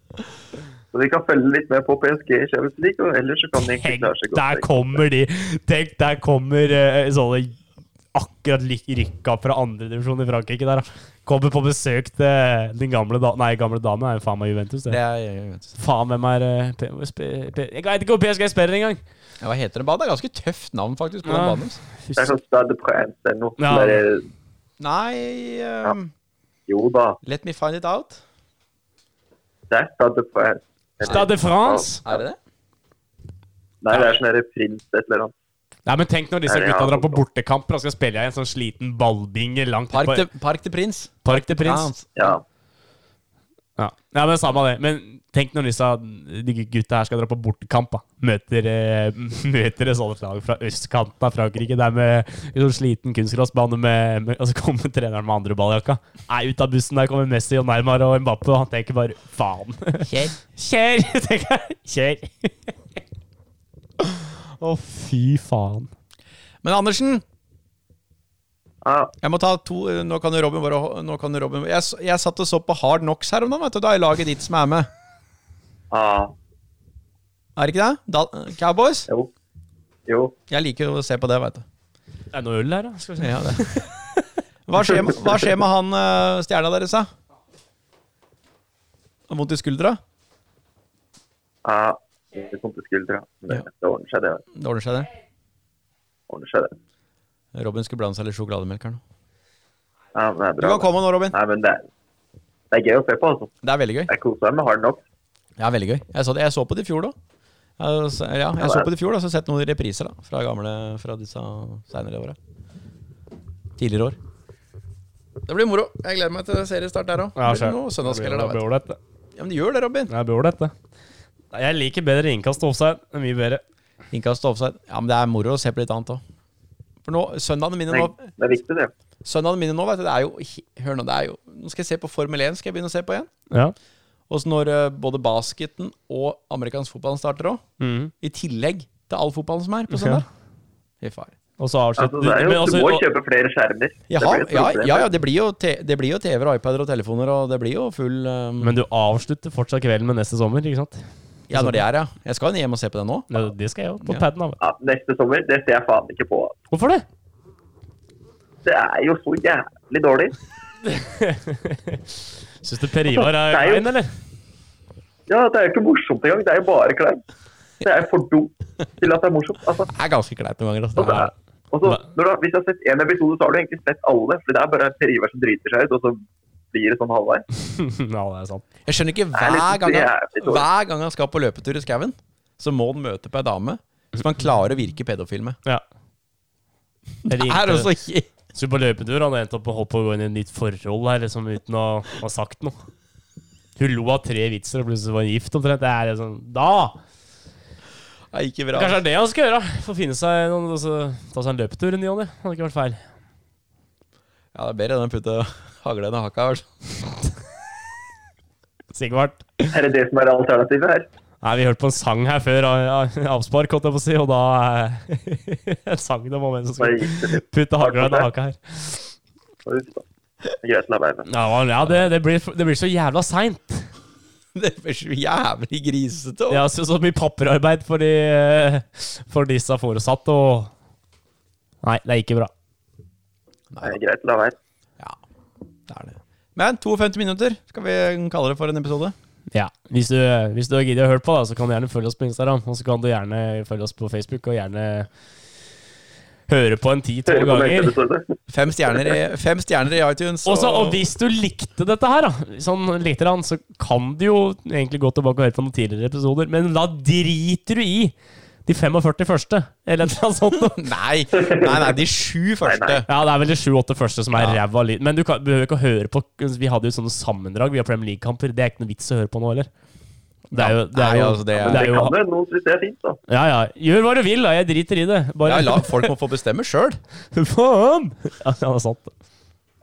S4: Så de kan følge litt med på PSG i Champions League, og ellers så kan de egentlig
S1: Tenk,
S4: klare seg godt.
S1: der kommer de. Tenk, der kommer eh, sånne akkurat lik- rykka fra andredivisjon i Frankrike der. da. Kommer på besøk til eh, den gamle da Nei, gamle dame er jo faen meg Juventus.
S3: Det
S1: Det.
S3: er jeg vet ikke.
S1: Faen, hvem er eh, P P P Jeg veit ikke hvor PSG spiller engang!
S3: Ja, Hva heter det badet? Det er ganske tøft navn, faktisk. på den
S1: Ja.
S3: banen deres.
S4: Det er sånn Stade de Prince eller noe.
S1: Ja.
S4: sånn der,
S3: Nei ehm,
S4: jo da,
S3: Let me find it out.
S4: det er Stade de Prince.
S1: Stade de France!
S3: Er det det?
S4: Nei, det er sånn der prins et eller annet.
S1: Nei, men tenk når disse
S4: Nei, det er sånn-
S1: gutta drar på
S4: fotball.
S1: bortekamper og skal spille i en sånn sliten ballbinge langt
S3: Park
S1: på-
S3: de, Park de Prins. altså.
S1: Park de Prins.
S4: Ja.
S1: Ja. ja, men samme det. Men tenk når disse de gutta her skal dra på bortekamp. da. Møter, eh, *laughs* møter et sånt lag fra østkanten av Frankrike. Der med en sånn sliten kunstgressbane, med, med, og så kommer treneren med andre balljakka. Er ut av bussen, der kommer Messi og Neymar og Mbappe, og han tenker bare faen. *laughs*
S3: Kjell.
S1: Kjør! *laughs* tenker jeg. Kjør. Å, fy faen.
S3: Men Andersen,
S4: Ja,
S3: jeg må ta to eh, Nå kan jo Robin bare nå kan jo Robin, jeg, s- jeg satt og så på Hard Knocks her om dagen, vet du. Da er laget ditt som er med.
S4: ja,
S3: Er det ikke det? Da, Cowboys?
S4: jo. Jo.
S3: Jeg liker jo å se på det, vet du.
S1: Det er noe øl her, da. Skal vi se.
S3: Ja, det. *laughs* Hva skjer, med- hva skjer med han eh, stjerna deres, da? Har Vondt i skuldra?
S4: Ja, det kom til skuldra. Men det ordner seg, det.
S3: Det ordner seg, det.
S4: ordner seg det.
S3: Robin skulle blande seg litt sjokolademelk her nå.
S4: Ja, men det er
S3: Du
S4: bra.
S3: kan komme nå, Robin.
S4: Nei, men det, det er gøy å se på, altså.
S3: Det er veldig gøy.
S4: Jeg koser meg med Hard Knock.
S3: Det er veldig gøy. Jeg så, det. Jeg så på det i fjor, da. Jeg, så- ja, jeg så på det i fjor, da. Så har jeg sett noen repriser da, fra gamle Fra disse seinere åra. Tidligere år. Det blir moro. Jeg gleder meg til seriestart der òg.
S1: Ja, sjøl.
S3: Søndagskvelder,
S1: Det
S3: da.
S1: blir
S3: Vet.
S1: ålreit, det.
S3: du. Ja, men det gjør det, Robin.
S1: Det blir ålreit, det. Nei, Jeg liker bedre innkast og offside. Det er Mye bedre.
S3: Innkast og offside. Ja, men det er moro å se på litt annet òg. For nå, søndagene mine nå
S4: Det er viktig, det.
S3: Søndagene mine nå, vet du, det er jo he- Hør nå, det er jo Nå skal jeg se på Formel 1, skal jeg begynne å se på igjen.
S1: Ja.
S3: Og så når eh, både basketen og amerikansk fotball starter òg,
S1: Mhm.
S3: i tillegg til all fotballen som er på søndag. Fy far.
S1: Og så
S4: Altså,
S1: avslutter
S4: det er
S1: men
S4: jo, du
S1: altså-
S4: må
S1: og-
S4: kjøpe flere skjermer.
S3: Ja,
S4: Det blir et
S3: ja,
S4: problem.
S3: ja, ja det, blir jo te- det blir jo TV-er og iPader og telefoner, og det blir jo full um,
S1: Men du avslutter fortsatt kvelden med neste sommer, ikke sant?
S3: Ja, når det er, ja. Jeg skal jo hjem og se på det nå.
S1: Ja, det skal jeg jo. På
S3: Ja.
S1: paden. da.
S4: Ja, neste sommer, det ser jeg faen ikke på.
S1: Hvorfor det?
S4: Det er jo så jævlig dårlig.
S1: Syns du Per Ivar er
S4: *laughs* Det er jo-
S1: klein, eller? *laughs*
S4: Ja, det er jo ikke morsomt engang. Det er jo bare kleint. Det er for dumt til at det er morsomt. Altså,
S3: Det er ganske kleit noen ganger.
S4: og så,
S3: Altså.
S1: Ja.
S4: og så, når du, har- hvis du har sett én episode, så har du egentlig sett alle. For det er bare Per Ivar som driter seg ut, og så blir det sånn halvveis.
S1: ja, det er sant.
S3: Jeg skjønner ikke
S4: er litt-
S3: hver gang,
S4: det
S3: han,
S4: er litt dårlig.
S3: hver gang han skal på løpetur i skauen, så må han møte på ei dame som han klarer å virke pedofil med.
S1: Ja. Jeg
S3: Det er
S1: ringte
S3: altså ikke
S1: skulle på løpetur. Han endte opp og holdt på å gå inn i et nytt forhold her, liksom, uten å ha sagt noe. Hun lo av tre vitser, og plutselig var hun gift omtrent. Det er liksom Da!
S3: Det er ikke bra.
S1: Kanskje det er det han skal gjøre? Få finne seg noen, og så ta seg en løpetur i ny og ne. Hadde ikke vært feil.
S3: Ja, det er bedre enn å putte hagla i haka. altså.
S1: Sigvart.
S4: Er det det som er alternativet her?
S1: Nei, vi hørte på en sang her før av- av- avspark, holdt jeg på å si, og da eh, *laughs* En sang det var en som
S4: Bare
S1: skulle
S4: gikk det litt.
S1: putte hagla i den haka her.
S4: ut, da. Det er Greit å la være.
S1: Ja, hva- ja det, det, blir, det blir så jævla seint.
S3: *laughs* Det er så jævlig grisete.
S1: Ja, så, så mye papirarbeid for, de, eh, for disse foresatte og Nei, det er ikke bra.
S4: Det er greit å la være.
S3: Ja, det er det. Men 52 minutter skal vi kalle det for en episode.
S1: Ja, Hvis du, hvis du har giddet å høre på, da, så kan du gjerne følge oss på Instagram. Og så kan du gjerne følge oss på Facebook, og gjerne høre på en
S4: Hører
S1: ti-tolv
S4: på neste
S1: ganger.
S4: episode.
S3: Fem stjerner
S1: *laughs*
S3: i, fem stjerner i iTunes.
S1: Og så- og hvis du likte dette her, da, sånn likte han, så kan du jo egentlig gå tilbake og høre på noen tidligere episoder, men da driter du i de 45 første, eller et eller annet sånt. *laughs* noe.
S3: Nei, nei, nei, de sju første.
S1: Ja, det er vel de 7-8 første som er
S3: Ja.
S1: ræva lyd. Men du kan, behøver ikke å høre på Vi hadde jo sånne sammendrag via Premier League-kamper. Det er ikke noe vits å høre på nå heller. Det er jo, det er
S3: Nei,
S1: jo,
S3: altså, det er-
S4: Men
S1: det
S4: det
S1: er
S4: kan
S1: jo
S4: jo noen synes det er fint, da.
S1: Ja, ja. Gjør hva du vil, da. Jeg driter i det.
S3: Ja,
S1: Bare
S3: la, folk må få bestemme sjøl.
S1: *laughs* Faen! Ja, det er sant.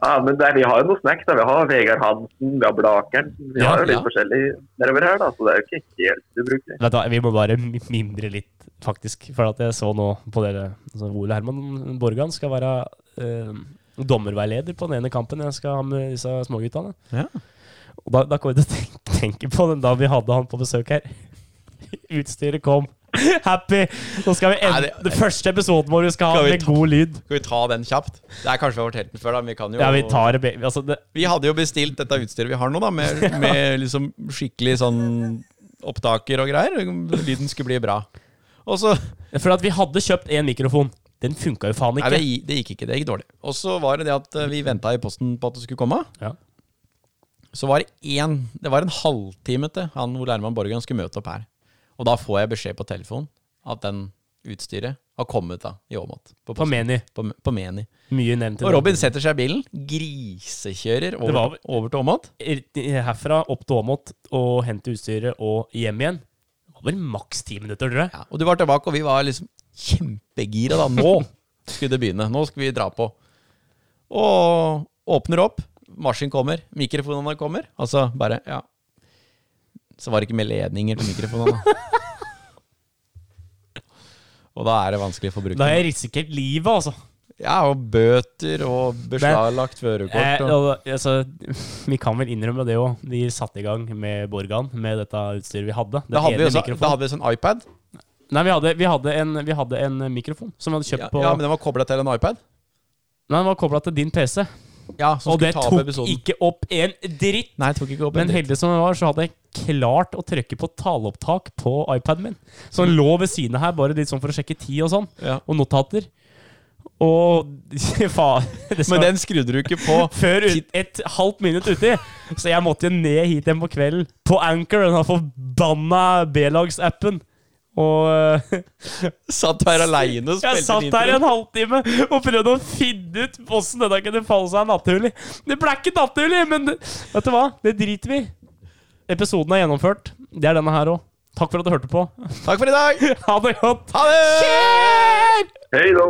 S4: Ja, men det er, vi har jo noen snacks. da. Vi har Vegard Hansen, vi har Blakeren. Vi
S1: Ja,
S4: har jo litt
S3: ja.
S4: forskjellig nedover her, da. Så det er jo ikke helt ubrukelig.
S1: Vet du hva, Vi må bare mi- mimre litt, faktisk. For at jeg så nå på dere altså Ole Herman Borgan skal være eh, dommerveileder på den ene kampen jeg skal ha med disse småguttene.
S3: Ja.
S1: Og da, da kom jeg til å tenke, tenke på den da vi hadde han på besøk her. *laughs* Utstyret kom. *laughs* Happy! Nå skal vi
S3: Nei,
S1: ende
S3: det-
S1: Den første episoden vår vi skal
S3: Skal
S1: ha
S3: vi
S1: med
S3: ta-
S1: god lyd.
S3: Skal vi ta den kjapt? Det er kanskje vi har fortalt den før, da. men Vi kan jo
S1: Ja, vi tar det be- altså, det,
S3: Vi hadde jo bestilt dette utstyret vi har nå, da, med,
S1: *laughs*
S3: med liksom skikkelig sånn opptaker og greier. Lyden skulle bli bra. Og så
S1: For at vi hadde kjøpt én mikrofon. Den funka jo faen
S3: Nei,
S1: ikke.
S3: det, gi- det gikk ikke. Det gikk dårlig. Og så var det det at eh, vi venta i posten på at det skulle komme.
S1: Ja.
S3: Så var det én Det var en halvtime til han Ole Herman Borgen skulle møte opp her. Og da får jeg beskjed på telefon at den utstyret har kommet da i Åmot. På,
S1: På
S3: posten,
S1: Meny.
S3: på, på Meni.
S1: Mye nevnt. i
S3: Og
S1: dag.
S3: Robin setter seg i bilen, grisekjører
S1: Det var
S3: over,
S1: vel-
S3: over til Åmot.
S1: herfra opp til Åmot og hente utstyret og hjem igjen. Det var vel maks ti minutter, tror jeg.
S3: Ja, og du var tilbake, og vi var liksom kjempegira da. Nå skulle det begynne. Nå skal vi dra på. Og åpner opp. Maskin kommer. Mikrofonene kommer. Altså bare Ja. Så var det ikke med ledninger til mikrofonene. og da er det vanskelig for
S1: Da har
S3: brukeren.
S1: jeg risikert livet, altså.
S3: Ja, og bøter og beslaglagt
S1: Eh,
S3: førerkort. og-
S1: og, altså. *laughs* Vi kan vel innrømme det òg. Vi satte i gang med Borgan med dette utstyret vi hadde. Den
S3: Da hadde, vi
S1: ene
S3: også,
S1: mikrofonen.
S3: da hadde vi også en iPad.
S1: Nei, vi hadde, vi, hadde en, vi hadde en mikrofon som vi hadde kjøpt
S3: Ja,
S1: på
S3: ja, men den var kobla til en iPad.
S1: Nei, den var kobla til din PC.
S3: Ja, som
S1: Og det
S3: skulle ta opp
S1: tok
S3: episoden.
S1: ikke opp en dritt.
S3: Nei, tok ikke opp
S1: Men
S3: en dritt.
S1: heldig som jeg var, så hadde jeg klart å trykke på taleopptak på iPaden min. Så den lå ved siden av her, bare litt sånn for å sjekke tid og sånn.
S3: Ja.
S1: Og notater. Og *laughs* faen det skal-
S3: Men den skrudde du ikke
S1: *laughs*
S3: på.
S1: Før ut, et halvt minutt uti. Så jeg måtte jo ned hit igjen på kvelden. På Anchor, den har forbanna B-lagsappen. Og *laughs* eh,
S3: Satt her aleine og spilte
S1: jeg satt
S3: inn
S1: der i
S3: intro.
S1: en halvtime og prøvde å finne ut åssen denne kunne falle seg naturlig. Det ble ikke naturlig, men det- vet du hva? Det driter vi i. Episoden er gjennomført. Det er denne her òg. Takk for at du hørte på. *laughs*
S3: Takk for i dag!
S1: Ha det godt.
S3: Ha det!
S4: Hei da!